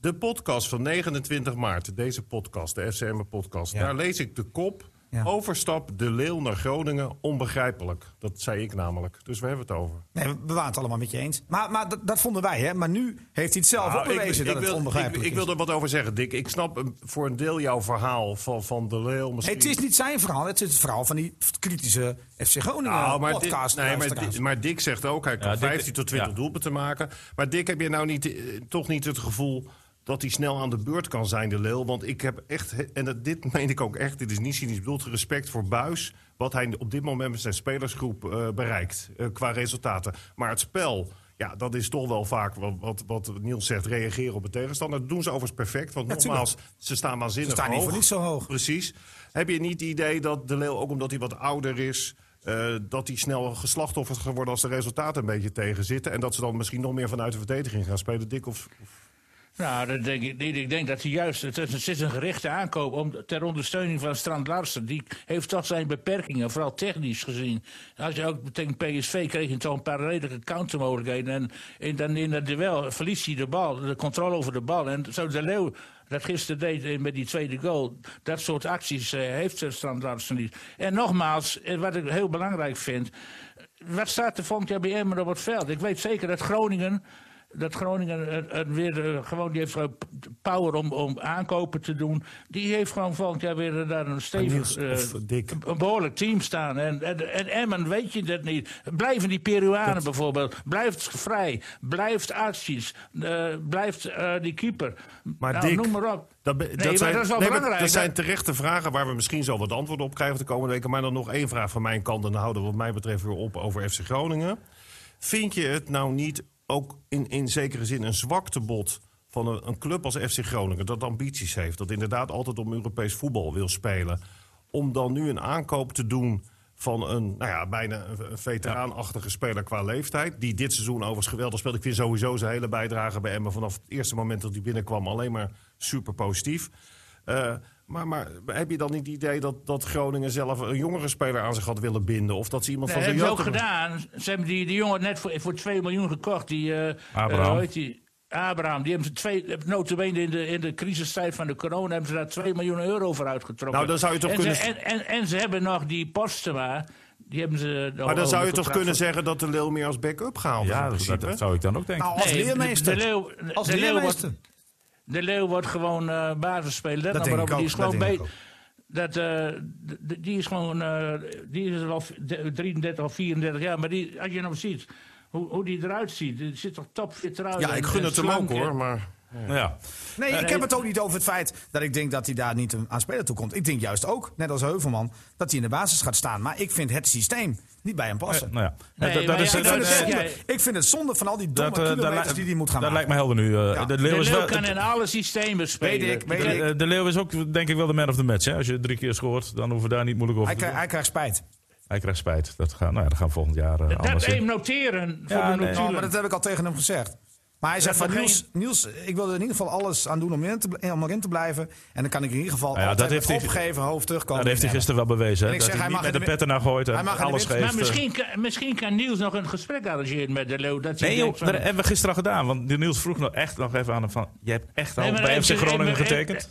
Speaker 4: De podcast van 29 maart, deze podcast, de FCM-podcast. Daar lees ik de kop.
Speaker 2: Ja.
Speaker 4: Overstap De Leeuw naar Groningen, onbegrijpelijk. Dat zei ik namelijk. Dus we hebben het over.
Speaker 2: Nee, we waren het allemaal met je eens. Maar, maar dat, dat vonden wij, hè? Maar nu heeft hij het zelf
Speaker 4: Nou,
Speaker 2: ook bewezen dat het
Speaker 4: wil,
Speaker 2: onbegrijpelijk
Speaker 4: ik, ik wil er wat over zeggen, Dick. Ik snap een- voor een deel jouw verhaal van, van De Leeuw.
Speaker 2: is. Nee,
Speaker 4: Misschien...
Speaker 2: het is niet zijn verhaal, het is het verhaal van die kritische FC Groningen
Speaker 4: Nou, maar, Dick,
Speaker 2: podcast.
Speaker 4: nee, maar,
Speaker 2: luisteraars.
Speaker 4: Dick, maar Dick zegt ook, hij kan
Speaker 1: Ja, Dick-
Speaker 4: 15 tot 20
Speaker 1: ja.
Speaker 4: doelpunten maken. Maar Dick, heb je nou niet, eh, toch niet het gevoel dat hij snel aan de beurt kan zijn, de Leeuw? Want ik heb echt, en dat, dit meen ik ook echt, dit is niet cynisch bedoeld, respect voor Buis. Wat hij op dit moment met zijn spelersgroep eh, bereikt eh, qua resultaten. Maar het spel. Ja, dat is toch wel vaak wat, wat, wat Niels zegt, reageren op de tegenstander. Dat doen ze overigens perfect, want
Speaker 2: Ja, tuurlijk.
Speaker 4: nogmaals, ze staan waanzinnig
Speaker 2: Ze staan niet
Speaker 4: hoog.
Speaker 2: voor niets zo hoog.
Speaker 4: Precies. Heb je niet het idee dat De Leeuw, ook omdat hij wat ouder is... eh, dat hij snel geslachtofferd gaat worden als de resultaten een beetje tegenzitten... en dat ze dan misschien nog meer vanuit de verdediging gaan spelen? Dik of...
Speaker 5: Nou, dat denk ik niet. Ik denk dat hij juist. Het is, het is een gerichte aankoop om, ter ondersteuning van Strand Larsen. Die heeft toch zijn beperkingen, vooral technisch gezien. Als je ook tegen PSV kreeg, je toch een paar redelijke countermogelijkheden. En in, dan in dat duel verliest hij de bal, de controle over de bal. En zo de Leeuw. Dat gisteren deed eh, met die tweede goal. Dat soort acties eh, heeft Strand Larsen niet. En nogmaals, eh, wat ik heel belangrijk vind. Wat staat er volgend jaar bij Emmen op het veld? Ik weet zeker dat Groningen. Dat Groningen het- het weer eh, gewoon, die heeft gewoon p- power om, om aankopen te doen. Die heeft gewoon volgend jaar weer eh, daar een stevig,
Speaker 4: Niels,
Speaker 5: eh,
Speaker 4: of Dick.
Speaker 5: een- een behoorlijk team staan. En, en, en Emmen weet je dat niet. Blijven die Peruanen bijvoorbeeld, blijft vrij, blijft acties, eh, blijft eh, die keeper.
Speaker 4: Maar
Speaker 5: nou,
Speaker 4: Dick,
Speaker 5: noem maar op.
Speaker 4: be-
Speaker 5: Nee, maar dat is wel
Speaker 4: nee, maar
Speaker 5: belangrijk.
Speaker 4: dat zijn
Speaker 5: Dat-
Speaker 4: terechte vragen waar we misschien zo wat antwoorden op krijgen de komende weken. Maar dan nog één vraag van mijn kant. En dan houden we wat mij betreft weer op over FC Groningen. Vind je het nou niet ook in, in zekere zin een zwaktebod van een, een club als FC Groningen... dat ambities heeft, dat inderdaad altijd om Europees voetbal wil spelen... om dan nu een aankoop te doen van een nou ja, bijna een- een veteraanachtige speler qua leeftijd... die dit seizoen overigens geweldig speelt. Ik vind sowieso zijn hele bijdrage bij Emmen... vanaf het eerste moment dat hij binnenkwam alleen maar super positief. Eh, maar, maar heb je dan niet het idee dat, dat Groningen zelf een jongere speler aan zich had willen binden? Of dat ze iemand
Speaker 5: Nee,
Speaker 4: van zijn
Speaker 5: hebben ze ook
Speaker 4: jeugd-
Speaker 5: gedaan. Ze hebben die, die jongen net voor, voor 2 miljoen gekocht. Die, eh,
Speaker 1: Abraham.
Speaker 5: eh, hoe heet die? Abraham. Die hebben ze twee, notabene in de, in de crisistijd van de corona... hebben ze daar 2 miljoen euro voor uitgetrokken.
Speaker 4: Nou, dan zou je toch
Speaker 5: en
Speaker 4: kunnen
Speaker 5: Ze,
Speaker 4: z-
Speaker 5: en, en, en ze hebben nog die Postema. Die hebben ze...
Speaker 4: Maar dan zou je toch kunnen zeggen dat de Leeuw meer als back-up gehaald is in
Speaker 1: Ja, dat,
Speaker 4: principe?
Speaker 1: dat zou ik dan ook denken.
Speaker 2: Nou, als
Speaker 5: Nee,
Speaker 2: leermeester.
Speaker 5: de- de Leeuw-
Speaker 2: als
Speaker 5: de Leeuw
Speaker 2: leermeester.
Speaker 5: De Leeuw wordt gewoon eh basisspeler. Let
Speaker 2: Dat
Speaker 5: nou maar
Speaker 2: denk
Speaker 5: op,
Speaker 2: ik
Speaker 5: die
Speaker 2: ook,
Speaker 5: is
Speaker 2: dat
Speaker 5: gewoon
Speaker 2: denk ik
Speaker 5: be- Dat, eh, d- d- die is gewoon, eh, die is al v- d- 33 of 34 jaar. Maar die, als je nou ziet hoe, hoe die eruit ziet, die zit toch topfit eruit.
Speaker 4: ja,
Speaker 5: en-
Speaker 4: ik gun
Speaker 5: en
Speaker 4: het hem ook
Speaker 5: slank en-
Speaker 4: hoor. Maar
Speaker 2: Nou,
Speaker 1: Ja.
Speaker 2: Nee, ik heb het ook niet over het feit dat ik denk dat hij daar niet aan spelen toe komt. Ik denk juist ook, net als Heuvelman, dat hij in de basis gaat staan. Maar ik vind het systeem niet bij hem passen.
Speaker 1: Nou ja.
Speaker 5: Nee,
Speaker 1: dat, dat
Speaker 5: maar
Speaker 1: is,
Speaker 5: ja,
Speaker 2: ik,
Speaker 1: dat-
Speaker 2: vind het
Speaker 5: eh,
Speaker 1: dat-
Speaker 2: zonde,
Speaker 5: jij-
Speaker 2: ik vind het zonde van al die domme
Speaker 1: dat, eh, dat
Speaker 2: kilometers
Speaker 1: lijkt-
Speaker 2: die hij moet gaan
Speaker 1: dat lijkt
Speaker 2: maken.
Speaker 1: mij helder nu. eh,
Speaker 2: Ja.
Speaker 1: de,
Speaker 5: De
Speaker 1: Leeuw is
Speaker 5: Leeuw
Speaker 1: wel,
Speaker 5: kan
Speaker 1: de,
Speaker 5: in alle systemen spelen.
Speaker 2: Weet ik, weet ik.
Speaker 1: de- de Leeuw is ook denk ik wel de man of the match. Hè? Als je drie keer scoort, dan hoeven we daar niet moeilijk over
Speaker 2: Hij,
Speaker 1: te doen.
Speaker 2: krijgt- hij krijgt spijt.
Speaker 1: Hij krijgt spijt. Dat gaan, nou ja, dat gaan we volgend jaar eh,
Speaker 5: Dat
Speaker 1: anders in.
Speaker 5: even noteren voor
Speaker 1: Ja,
Speaker 5: de
Speaker 1: nee.
Speaker 5: notulen.
Speaker 2: Oh, maar dat heb ik al tegen hem gezegd. Maar hij zei
Speaker 5: Dat
Speaker 2: van
Speaker 5: mag
Speaker 2: Niels, Niels, ik wil er in ieder geval alles aan doen om erin te, bl- om erin te blijven. En dan kan ik in ieder geval
Speaker 1: ja,
Speaker 2: altijd
Speaker 1: dat
Speaker 2: met
Speaker 1: heeft hij-
Speaker 2: opgeven hoofd terugkomen.
Speaker 1: Dat heeft hij gisteren wel bewezen. Hè?
Speaker 2: En ik
Speaker 1: Dat
Speaker 2: zeg,
Speaker 1: hij
Speaker 2: hij
Speaker 1: niet
Speaker 2: mag
Speaker 1: met
Speaker 2: in
Speaker 1: de
Speaker 2: de
Speaker 1: petten naar gooit en
Speaker 2: hij mag in de
Speaker 1: alles
Speaker 2: winst-
Speaker 1: geeft.
Speaker 5: Maar
Speaker 1: eh.
Speaker 5: misschien, kan- misschien kan Niels nog een gesprek arrangeren met de Leeuw. Dat hij
Speaker 1: Nee, joh, eh,
Speaker 5: denkt van-
Speaker 1: dat hebben we gisteren al gedaan. Want die Niels vroeg nog echt nog even aan hem van... Je hebt echt al
Speaker 5: Nee, maar
Speaker 1: bij
Speaker 5: dan
Speaker 1: FC
Speaker 5: heeft hij-
Speaker 1: Groningen
Speaker 5: eh, eh,
Speaker 1: getekend.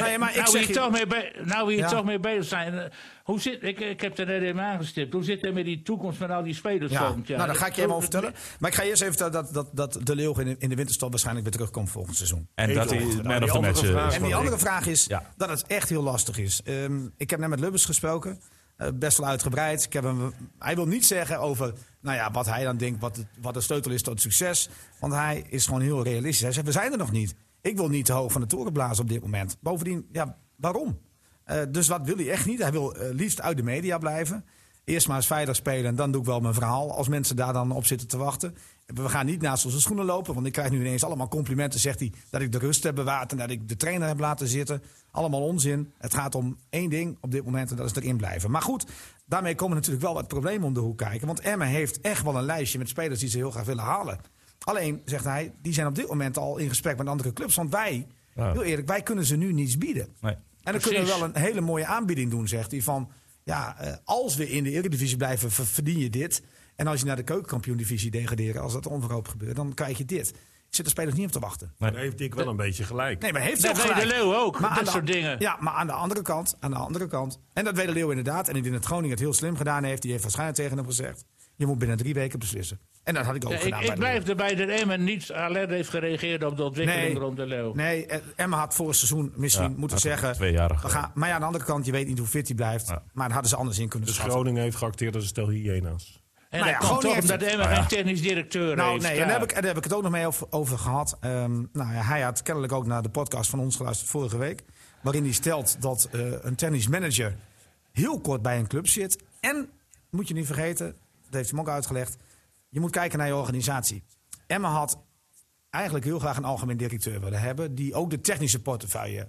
Speaker 2: Nee, maar ik
Speaker 5: nou, we
Speaker 2: zeg
Speaker 5: hier
Speaker 2: je-
Speaker 5: toch mee be- nou, we hier
Speaker 2: Ja.
Speaker 5: toch mee bezig zijn. eh, Hoe zit, ik, ik heb er net even aangestipt. Hoe zit het met die toekomst van al die spelers
Speaker 2: Ja,
Speaker 5: volgend jaar?
Speaker 2: nou, daar ga ik je even over
Speaker 5: Hoe-
Speaker 2: vertellen. Maar ik ga eerst even vertellen dat, dat, dat De Leeuw in, in de winterstop waarschijnlijk weer terugkomt volgend seizoen.
Speaker 1: en dat hij
Speaker 4: Nou,
Speaker 1: man
Speaker 4: die
Speaker 1: of the
Speaker 4: andere
Speaker 1: match
Speaker 4: vraag
Speaker 1: eh, is.
Speaker 2: En die
Speaker 4: Sorry.
Speaker 2: andere vraag is
Speaker 1: Ja.
Speaker 2: dat het echt heel lastig is. Ehm, ik heb net met Lubbers gesproken. eh, best wel uitgebreid. Ik heb hem, hij wil niet zeggen over nou ja, wat hij dan denkt, wat, het- wat de sleutel is tot succes. Want hij is gewoon heel realistisch. Hij zegt, we zijn er nog niet. Ik wil niet te hoog van de toren blazen op dit moment. Bovendien, ja, waarom? Eh, dus wat wil hij echt niet? Hij wil eh, liefst uit de media blijven. Eerst maar eens veilig spelen en dan doe ik wel mijn verhaal. Als mensen daar dan op zitten te wachten. We gaan niet naast onze schoenen lopen. Want ik krijg nu ineens allemaal complimenten. Zegt hij dat ik de rust heb bewaard en dat ik de trainer heb laten zitten. Allemaal onzin. Het gaat om één ding op dit moment en dat is erin blijven. Maar goed, daarmee komen natuurlijk wel wat problemen om de hoek kijken. Want Emma heeft echt wel een lijstje met spelers die ze heel graag willen halen. Alleen, zegt hij, die zijn op dit moment al in gesprek met andere clubs. Want wij,
Speaker 1: Ja.
Speaker 2: heel eerlijk, wij kunnen ze nu niets bieden.
Speaker 1: Nee.
Speaker 2: En En dan kunnen we
Speaker 5: Precies.
Speaker 2: wel een hele mooie aanbieding doen, zegt hij. Van ja, eh, als we in de Eredivisie blijven, ver- verdien je dit. En als je naar de keukenkampioen-divisie degraderen, als dat onverhoopt gebeurt, dan krijg je dit. Zit de spelers niet op te wachten.
Speaker 4: Daar heeft ik wel een beetje gelijk.
Speaker 2: Nee, maar heeft hij
Speaker 5: Dat
Speaker 2: ook
Speaker 5: weet de
Speaker 2: gelijk.
Speaker 5: Leeuw ook,
Speaker 2: aan
Speaker 5: dat
Speaker 2: de-
Speaker 5: soort dingen.
Speaker 2: Ja, maar aan de andere kant, aan de andere kant. En dat weet de Leeuw inderdaad. En ik denk dat Groningen het heel slim gedaan heeft. Die heeft waarschijnlijk tegen hem gezegd: je moet binnen drie weken beslissen. En dat had ik ook
Speaker 5: Ja, ik,
Speaker 2: gedaan. bij
Speaker 5: ik
Speaker 2: de Leeuw.
Speaker 5: blijf erbij dat Emmen niet alert heeft gereageerd op de ontwikkeling
Speaker 2: Nee.
Speaker 5: rond de Leeuw.
Speaker 2: Nee, eh, Emma had vorig seizoen misschien
Speaker 1: Ja,
Speaker 2: moeten
Speaker 1: had het
Speaker 2: zeggen.
Speaker 1: twee jaren
Speaker 2: we gaan, maar ja, aan de andere kant, je weet niet hoe fit hij blijft.
Speaker 1: Ja.
Speaker 2: Maar dat hadden ze anders in kunnen
Speaker 4: Dus
Speaker 2: schatten.
Speaker 4: Groningen heeft geacteerd als een stel hyena's.
Speaker 5: En
Speaker 2: Nou ja,
Speaker 5: dat komt
Speaker 2: Groningen
Speaker 5: toch
Speaker 2: heeft
Speaker 5: omdat
Speaker 2: het-
Speaker 5: Emmen geen technisch directeur
Speaker 2: Nou,
Speaker 5: heeft.
Speaker 2: nee,
Speaker 5: Ja.
Speaker 2: en daar, heb ik, en daar heb ik het ook nog mee over, over gehad. Ehm, nou, ja, hij had kennelijk ook naar de podcast van ons geluisterd vorige week. Waarin hij stelt dat eh, een tennismanager heel kort bij een club zit. En, moet je niet vergeten, dat heeft hem ook uitgelegd. Je moet kijken naar je organisatie. Emma had eigenlijk heel graag een algemeen directeur willen hebben. Die ook de technische portefeuille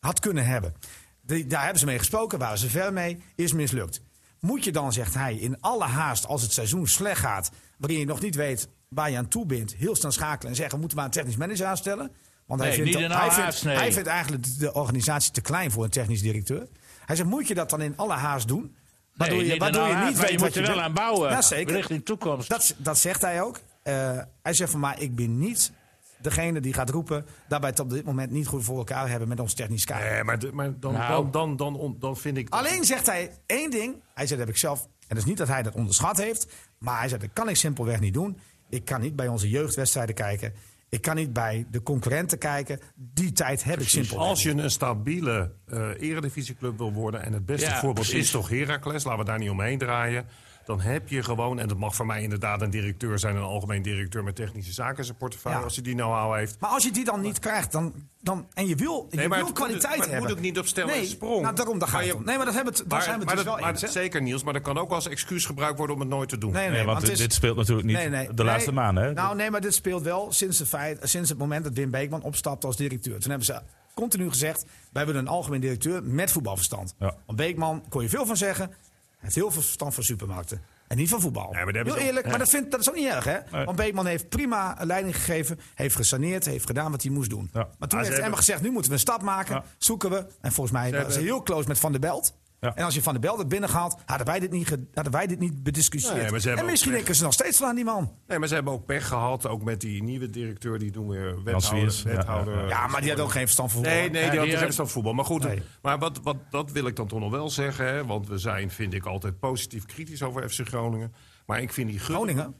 Speaker 2: had kunnen hebben. Die- daar hebben ze mee gesproken, waren ze ver mee, is mislukt. Moet je dan, zegt hij, in alle haast als het seizoen slecht gaat, waarin je nog niet weet waar je aan toe bent, heel snel schakelen en zeggen: we moeten maar een technisch manager aanstellen? Want hij,
Speaker 5: Nee,
Speaker 2: vindt,
Speaker 5: niet in
Speaker 2: hij,
Speaker 5: alle
Speaker 2: vindt,
Speaker 5: haast, nee.
Speaker 2: hij vindt eigenlijk de organisatie te klein voor een technisch directeur. Hij zegt: moet je dat dan in alle haast doen? Waardoor
Speaker 5: Nee,
Speaker 2: je,
Speaker 5: niet
Speaker 2: waardoor
Speaker 5: in
Speaker 2: je
Speaker 5: alle
Speaker 2: niet
Speaker 5: haast,
Speaker 2: weet
Speaker 5: maar je
Speaker 2: wat
Speaker 5: moet er wel
Speaker 2: doet.
Speaker 5: aan bouwen,
Speaker 2: Ja, zeker.
Speaker 5: richting toekomst.
Speaker 2: Dat, dat zegt hij ook. Eh, hij zegt van, maar ik ben niet degene die gaat roepen... dat wij het op dit moment niet goed voor elkaar hebben met ons technisch kader.
Speaker 4: Nee, maar, de- maar dan,
Speaker 5: Nou.
Speaker 4: dan, dan, dan, on- dan vind ik...
Speaker 2: Alleen zegt hij één ding. Hij zegt, dat heb ik zelf... En dat is niet dat hij dat onderschat heeft. Maar hij zegt, dat kan ik simpelweg niet doen. Ik kan niet bij onze jeugdwedstrijden kijken. Ik kan niet bij de concurrenten kijken. Die tijd heb ik simpelweg
Speaker 4: Als je een stabiele eh eredivisieclub wil worden... en het beste
Speaker 5: Ja,
Speaker 4: voorbeeld
Speaker 5: precies.
Speaker 4: is toch Heracles, laten we daar niet omheen draaien... dan heb je gewoon, en dat mag voor mij inderdaad een directeur zijn... een algemeen directeur met technische zaken in zijn portefeuille...
Speaker 2: Ja.
Speaker 4: als hij die know-how heeft.
Speaker 2: Maar als je die dan niet krijgt, dan, dan, en je wil, je
Speaker 4: Nee, maar
Speaker 2: wil
Speaker 4: het moet-
Speaker 2: kwaliteit
Speaker 4: maar het
Speaker 2: hebben.
Speaker 4: moet ook niet op stijl en
Speaker 2: nee,
Speaker 4: sprong.
Speaker 2: Nou, daarom, daar gaat
Speaker 4: Maar je-
Speaker 2: het om. Nee, maar dat hebben we, t- daar zijn we het
Speaker 4: maar
Speaker 2: dus
Speaker 4: dat-
Speaker 2: wel
Speaker 4: maar
Speaker 2: eens. hè?
Speaker 4: dat- zeker Niels, maar dat kan ook als excuus gebruikt worden om het nooit te doen.
Speaker 2: Nee, nee,
Speaker 1: Nee, want
Speaker 2: het
Speaker 1: dit,
Speaker 2: is-
Speaker 1: dit speelt natuurlijk niet
Speaker 2: Nee, nee.
Speaker 1: de laatste
Speaker 2: Nee.
Speaker 1: maanden. Hè?
Speaker 2: Nou, nee, maar dit speelt wel sinds, de feit, sinds het moment dat Wim Beekman opstapte als directeur. Toen hebben ze continu gezegd: wij willen een algemeen directeur met voetbalverstand.
Speaker 1: Ja.
Speaker 2: Want Beekman kon je veel van zeggen. Hij heeft heel veel verstand van supermarkten. En niet van voetbal.
Speaker 4: maar daar hebben
Speaker 2: Heel
Speaker 4: ze ook-
Speaker 2: eerlijk, maar dat, vindt, dat is ook niet erg, hè?
Speaker 1: Nee.
Speaker 2: Want Beekman heeft prima leiding gegeven, heeft gesaneerd, heeft gedaan wat hij moest doen.
Speaker 1: Ja.
Speaker 2: Maar
Speaker 4: ze
Speaker 2: toen heeft Emma
Speaker 4: hebben-
Speaker 2: gezegd: nu moeten we een stap maken,
Speaker 1: Ja.
Speaker 2: zoeken we. En volgens mij waren ze
Speaker 4: hebben-
Speaker 2: heel close met Van der Belt.
Speaker 1: Ja.
Speaker 2: En als je Van der Belt had binnengehaald, hadden wij dit niet, ge- hadden wij dit niet bediscussieerd.
Speaker 4: Nee, maar ze hebben
Speaker 2: en
Speaker 4: ook
Speaker 2: misschien
Speaker 4: echt-
Speaker 2: ik ze nog steeds wel aan die man.
Speaker 4: Nee, maar ze hebben ook pech gehad, ook met die nieuwe directeur, die doen weer
Speaker 1: Swiers,
Speaker 4: wethouder.
Speaker 1: ja,
Speaker 4: wethouder
Speaker 1: ja,
Speaker 2: Ja, maar die had ook geen verstand van voetbal.
Speaker 4: Nee, nee, die
Speaker 5: die
Speaker 4: had geen
Speaker 5: had-
Speaker 4: verstand van voetbal. Maar goed,
Speaker 2: Nee.
Speaker 4: maar wat, wat, dat wil ik dan toch nog wel zeggen. Hè, want we zijn, vind ik, altijd positief kritisch over FC Groningen. Maar ik vind die Gudde...
Speaker 2: Groningen?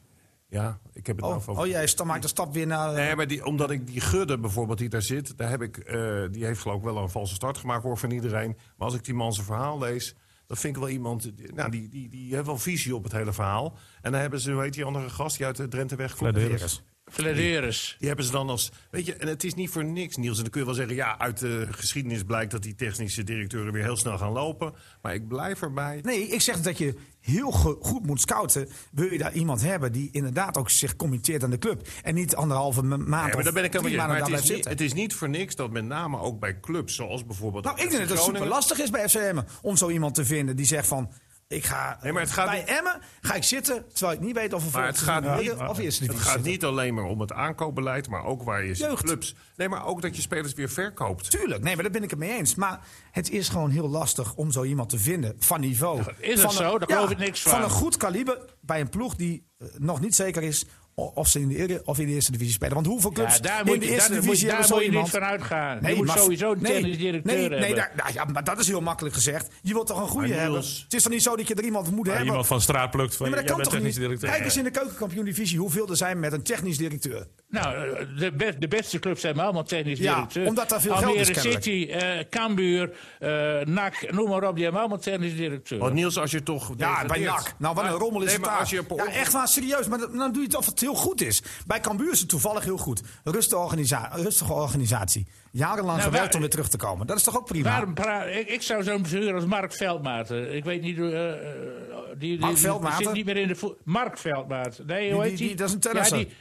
Speaker 4: Ja, ik heb het nou
Speaker 2: Oh,
Speaker 4: over...
Speaker 2: oh jij sta- maakt de stap weer naar... eh,
Speaker 4: Nee, maar die, omdat ik die Gudde bijvoorbeeld, die daar zit... Daar heb ik, eh, die heeft geloof ik wel een valse start gemaakt, hoor, van iedereen. Maar als ik die man zijn verhaal lees... Dat vind ik wel iemand, die- nou, die, die, die heeft wel visie op het hele verhaal. En dan hebben ze, weet die andere gast die uit de Drenteweg komt?
Speaker 1: Flederis.
Speaker 5: Flederis.
Speaker 4: Die hebben ze dan als. Weet je, en het is niet voor niks, Niels. En dan kun je wel zeggen, ja, uit de geschiedenis blijkt dat die technische directeuren weer heel snel gaan lopen. Maar ik blijf erbij.
Speaker 2: Nee, ik zeg dat je heel ge- goed moet scouten. Wil je daar iemand hebben die inderdaad ook zich committeert aan de club. En niet anderhalve ma- maand
Speaker 4: Ja, maar daar ben ik
Speaker 2: of
Speaker 4: helemaal
Speaker 2: drie
Speaker 4: niet.
Speaker 2: maanden
Speaker 4: Maar
Speaker 2: daar
Speaker 4: het
Speaker 2: blijft
Speaker 4: is, niet,
Speaker 2: zitten.
Speaker 4: het is niet voor niks dat met name ook bij clubs, zoals bijvoorbeeld.
Speaker 2: Nou, ik denk dat het super
Speaker 4: Groningen-
Speaker 2: lastig is bij FCM om zo iemand te vinden die zegt van... Ik ga
Speaker 4: Nee, maar het gaat
Speaker 2: bij
Speaker 4: niet-
Speaker 2: Emmen ga ik zitten, terwijl ik niet weet of we
Speaker 4: Maar
Speaker 2: volgend
Speaker 4: het gaat,
Speaker 2: seizoen
Speaker 4: niet,
Speaker 2: tweede of eerste
Speaker 4: het
Speaker 2: divisie
Speaker 4: gaat
Speaker 2: zitten.
Speaker 4: niet alleen maar om het aankoopbeleid, maar ook waar je
Speaker 2: Jeugd.
Speaker 4: clubs. Nee, maar ook dat je spelers weer verkoopt.
Speaker 2: Tuurlijk, nee, maar daar ben ik het mee eens. Maar het is gewoon heel lastig om zo iemand te vinden van niveau.
Speaker 5: is
Speaker 2: van
Speaker 5: het zo? Daar geloof ik niks van.
Speaker 2: Van een goed kaliber bij een ploeg die eh, nog niet zeker is o- of ze in de, ere- of in de eerste divisie spelen. Want hoeveel clubs
Speaker 5: Ja, daar
Speaker 2: in
Speaker 5: moet
Speaker 2: de
Speaker 5: je,
Speaker 2: eerste
Speaker 5: daar, moet,
Speaker 2: divisie
Speaker 5: je- daar
Speaker 2: hebben
Speaker 5: moet
Speaker 2: zo
Speaker 5: je niet
Speaker 2: iemand?
Speaker 5: van uitgaan. je moet
Speaker 2: maar-
Speaker 5: sowieso een technisch directeur
Speaker 2: nee,
Speaker 5: hebben.
Speaker 2: Nee, daar- nou ja, maar dat is heel makkelijk gezegd. Je wilt toch een goede
Speaker 4: Maar
Speaker 2: hebben?
Speaker 4: Niels-
Speaker 2: Het is toch niet zo dat je er iemand moet hebben?
Speaker 1: Iemand van straat plukt van
Speaker 2: Nee, maar
Speaker 1: jij
Speaker 2: dat kan
Speaker 1: bent
Speaker 2: toch niet?
Speaker 1: technisch directeur.
Speaker 2: Kijk eens in de keukenkampioen-divisie hoeveel er zijn met een technisch directeur.
Speaker 5: Nou, eh, de, be- de beste clubs hebben allemaal technisch
Speaker 2: Ja,
Speaker 5: directeur.
Speaker 2: omdat daar veel
Speaker 5: Almere
Speaker 2: geld is, kennelijk.
Speaker 5: City, eh Cambuur, eh NAC, noem maar op. Die hebben allemaal technisch directeur.
Speaker 2: Oh,
Speaker 4: Want Niels, als je toch.
Speaker 2: Ja, bij
Speaker 4: degradeert-
Speaker 2: NAC. Nou, wat een
Speaker 4: Maar-
Speaker 2: rommel is
Speaker 4: nee,
Speaker 2: het
Speaker 4: maar
Speaker 2: daar.
Speaker 4: als je per
Speaker 2: ja,
Speaker 4: ongeluk-
Speaker 2: echt waar, serieus. Maar dat- dan doe je het of het heel goed is. Bij Cambuur is het toevallig heel goed. Rustige, organisa- rustige organisatie. Jarenlang
Speaker 5: Nou,
Speaker 2: gewerkt
Speaker 5: waar-
Speaker 2: om weer terug te komen. Dat is toch ook prima?
Speaker 5: Waarom pra- ik, ik zou zo'n bestuurder als Mark Veldmaten. Ik weet niet. hoe, eh, eh, die, die,
Speaker 2: Mark
Speaker 5: die
Speaker 2: Veldmaten?
Speaker 5: zit niet meer in de voet. Mark Veldmaten. Nee,
Speaker 2: Die-
Speaker 5: hoe
Speaker 2: die-
Speaker 5: heet die?
Speaker 2: die- dat is een tennisser.
Speaker 5: Ja, die,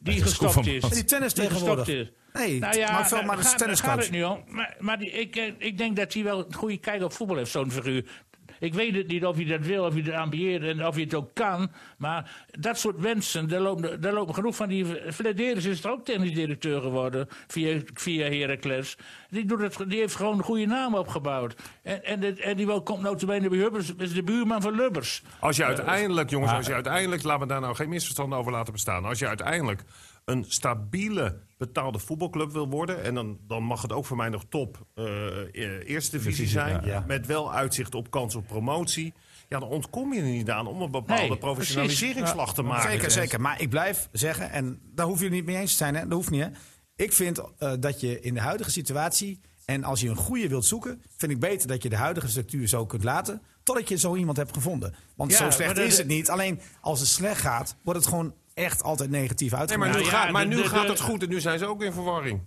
Speaker 5: die
Speaker 1: is
Speaker 5: gestopt
Speaker 1: Kofferman.
Speaker 5: is.
Speaker 1: En
Speaker 2: die tennis
Speaker 5: Die
Speaker 2: tegenwoordig.
Speaker 5: gestopt is. Nou
Speaker 2: Nee, Mark Veldmaten
Speaker 5: daar
Speaker 2: is
Speaker 5: gaat- daar
Speaker 2: tenniscoach.
Speaker 5: gaat het nu om. Maar, maar die, ik, eh, ik denk dat hij wel een goede kijk op voetbal heeft, zo'n figuur. Ik weet het niet of je dat wil, of je dat ambieert en of je het ook kan. Maar dat soort mensen, daar lopen, daar lopen genoeg van die... Flederis is er ook tennisdirecteur geworden via, via Heracles. Die, doet het, die heeft gewoon een goede naam opgebouwd. En, en, dit- en die wel- komt notabene bij Hubbers, is de buurman van Lubbers.
Speaker 4: Als je uiteindelijk, jongens, als je uiteindelijk, laten we daar nou geen misverstanden over laten bestaan. Als je uiteindelijk een stabiele betaalde voetbalclub wil worden, en dan, dan mag het ook voor mij nog top eh, eh, eerste divisie zijn,
Speaker 2: ja.
Speaker 4: met wel uitzicht op kans op promotie. Ja, dan ontkom je er niet aan om een bepaalde
Speaker 5: Nee,
Speaker 4: professionaliseringsslag te maken.
Speaker 2: Zeker, zeker. Maar ik blijf zeggen, en daar hoef je het niet mee eens te zijn, hè? dat hoeft niet. Hè? Ik vind eh, dat je in de huidige situatie, en als je een goede wilt zoeken, vind ik beter dat je de huidige structuur zo kunt laten, totdat je zo iemand hebt gevonden. Want
Speaker 5: Ja,
Speaker 2: zo
Speaker 5: maar
Speaker 2: slecht
Speaker 5: dat-
Speaker 2: is het niet. Alleen als het slecht gaat, wordt het gewoon echt altijd negatief
Speaker 4: Nee, maar
Speaker 2: uitgemaakt.
Speaker 4: nu,
Speaker 5: Nou ja,
Speaker 4: gaat, maar
Speaker 5: de-
Speaker 4: nu
Speaker 5: de-
Speaker 4: gaat
Speaker 5: de-
Speaker 4: het goed en nu zijn ze ook in verwarring.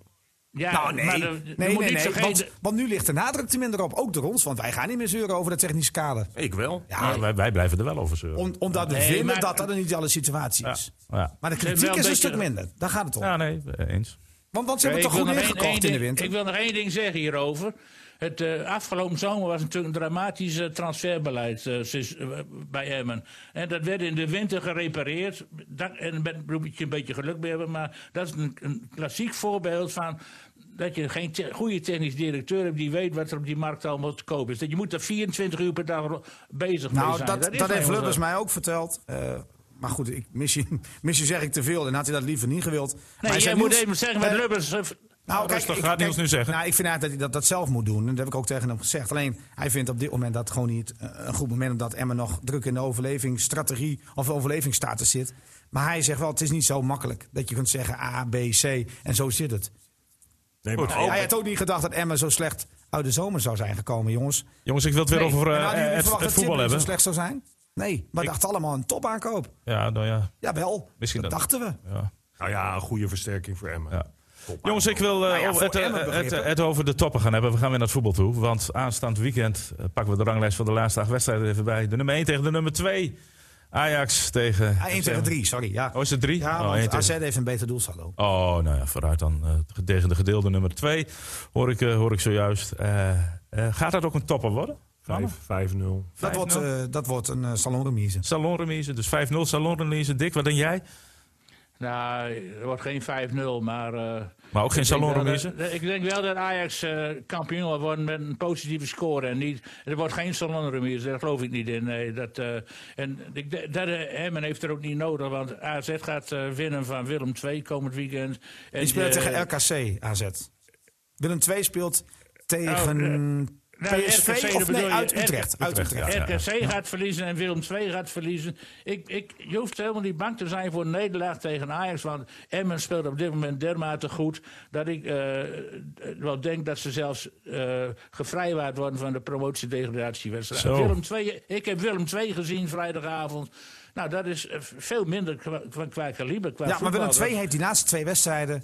Speaker 5: Ja,
Speaker 2: nou, nee,
Speaker 5: maar er- er
Speaker 2: nee,
Speaker 5: moet
Speaker 2: nee,
Speaker 5: niet
Speaker 2: nee,
Speaker 5: zo geen-
Speaker 2: want, want nu ligt de nadruk er minder op, ook door ons. Want wij gaan niet meer zeuren over dat technische kader.
Speaker 4: Ik wel.
Speaker 2: Ja,
Speaker 1: Ja, wij, wij blijven er wel over zeuren.
Speaker 2: om- omdat we
Speaker 5: Nee,
Speaker 2: vinden
Speaker 5: maar-
Speaker 2: dat dat er niet alle situatie
Speaker 1: Ja,
Speaker 2: is.
Speaker 1: ja.
Speaker 2: Maar de
Speaker 5: Ze hebben
Speaker 2: kritiek
Speaker 5: wel
Speaker 2: is
Speaker 5: een
Speaker 2: een stuk
Speaker 5: beetje-
Speaker 2: minder. Daar gaat het om.
Speaker 1: ja, nee, eens.
Speaker 2: Want, want ze hebben
Speaker 5: Ik
Speaker 2: het toch
Speaker 5: wil
Speaker 2: goed
Speaker 5: nog één-
Speaker 2: ingekocht
Speaker 5: één
Speaker 2: in de
Speaker 5: ding-
Speaker 2: winter.
Speaker 5: Ik wil nog één ding zeggen hierover. Het eh, afgelopen zomer was natuurlijk een dramatisch eh, transferbeleid eh, sinds, eh, bij Emmen. En dat werd in de winter gerepareerd. Dat, en met daar moet je een beetje geluk bij hebben. Maar dat is een, een klassiek voorbeeld van dat je geen te- goede technisch directeur hebt... die weet wat er op die markt allemaal te koop is. Dat je moet er 24 uur per dag ro- bezig mee
Speaker 2: Nou,
Speaker 5: zijn.
Speaker 2: dat,
Speaker 5: is
Speaker 2: dat,
Speaker 5: nou
Speaker 2: heeft
Speaker 5: eenmaal
Speaker 2: Lubbers
Speaker 5: zo.
Speaker 2: mij ook verteld. Eh, maar goed, ik, misschien, misschien zeg ik te veel. Dan had hij dat liever niet gewild.
Speaker 5: Nee,
Speaker 2: maar
Speaker 5: jij
Speaker 2: zijn
Speaker 5: moet
Speaker 2: nieuws-
Speaker 5: even zeggen wat
Speaker 2: Eh,
Speaker 5: Lubbers... eh, v-
Speaker 2: Nou, kijk,
Speaker 1: Rustig,
Speaker 2: ik,
Speaker 1: ga het
Speaker 2: kijk,
Speaker 1: nieuws nu zeggen.
Speaker 2: Nou, ik vind eigenlijk dat hij dat, dat zelf moet doen. En dat heb ik ook tegen hem gezegd. Alleen, hij vindt op dit moment dat gewoon niet eh, een goed moment... omdat Emma nog druk in de overlevingsstrategie of overlevingsstatus zit. Maar hij zegt wel, het is niet zo makkelijk dat je kunt zeggen A, B, C en zo zit het.
Speaker 4: Nee, maar ook-
Speaker 2: Hij had ook niet gedacht dat Emma zo slecht uit de zomer zou zijn gekomen, jongens.
Speaker 1: Jongens, ik wil het weer
Speaker 5: Nee,
Speaker 1: over eh,
Speaker 2: en hadden jullie
Speaker 1: het,
Speaker 2: verwacht
Speaker 1: het
Speaker 2: dat
Speaker 1: voetbal
Speaker 2: Timber
Speaker 1: hebben.
Speaker 2: zo slecht zou zijn? Nee, maar
Speaker 1: Ik-
Speaker 2: dachten allemaal een topaankoop.
Speaker 1: Ja, nou ja.
Speaker 2: Jawel,
Speaker 1: Misschien
Speaker 2: dat
Speaker 1: dat-
Speaker 2: dachten we.
Speaker 1: ja.
Speaker 4: nou ja, een goede versterking voor Emmen.
Speaker 1: Ja. Jongens, ik wil eh,
Speaker 2: Nou ja,
Speaker 1: over-
Speaker 2: voor
Speaker 1: het, eh,
Speaker 2: Emmen
Speaker 1: het,
Speaker 2: begrippen.
Speaker 1: eh, het over de toppen gaan hebben. We gaan weer naar het voetbal toe. Want aanstaand weekend eh, pakken we de ranglijst van de laatste acht wedstrijden er even bij. De nummer 1 tegen de nummer 2. Ajax tegen...
Speaker 2: Ah, 1 tegen 3, sorry. Ja,
Speaker 1: Oh, is het 3?
Speaker 2: ja
Speaker 1: oh, één
Speaker 2: want
Speaker 1: tegen-
Speaker 2: AZ heeft een beter doelsaldo.
Speaker 1: Oh, nou ja, vooruit dan. eh, tegen de gedeelde nummer 2 hoor, ik, eh, hoor ik zojuist. Eh, eh, gaat dat ook een topper worden? Mannen?
Speaker 4: 5 5-0.
Speaker 2: Dat
Speaker 1: 5-0?
Speaker 2: wordt, eh, dat wordt een eh, salonremise.
Speaker 1: Salonremise, dus 5-0 salonremise. Dick, wat denk jij?
Speaker 5: Nou, het wordt geen 5-0, maar... eh,
Speaker 1: Maar ook geen
Speaker 5: Ik denk wel
Speaker 1: salonremise?
Speaker 5: dat- Ik denk wel dat Ajax eh, kampioen wordt worden met een positieve score. En niet, er wordt geen salonremise, daar geloof ik niet in. Nee, dat, eh, en ik, de- dat, eh, Emmen heeft er ook niet nodig, want AZ gaat eh, winnen van Willem II komend weekend. En,
Speaker 2: Die speelt
Speaker 5: eh,
Speaker 2: tegen RKC AZ. Willem 2 speelt tegen
Speaker 5: Oh, eh, nou,
Speaker 2: PSV
Speaker 5: RKC, dat
Speaker 2: of
Speaker 5: bedoel
Speaker 2: nee,
Speaker 5: je,
Speaker 2: uit
Speaker 5: RKC.
Speaker 2: Utrecht. Uit
Speaker 1: Utrecht,
Speaker 2: Utrecht.
Speaker 1: Ja,
Speaker 5: RKC gaat verliezen en Willem II gaat verliezen. Ik, ik, je hoeft helemaal niet bang te zijn voor een nederlaag tegen Ajax. Want Emmen speelt op dit moment dermate goed... dat ik eh, wel denk dat ze zelfs eh, gevrijwaard worden... van de promotiedegradatiewedstrijd.
Speaker 1: Zo.
Speaker 5: Willem II, ik heb Willem II gezien vrijdagavond. Nou, dat is eh, veel minder qua, qua, qua kaliber. Qua
Speaker 2: Ja, maar Willem
Speaker 5: voetbal.
Speaker 2: 2 heeft die laatste twee wedstrijden...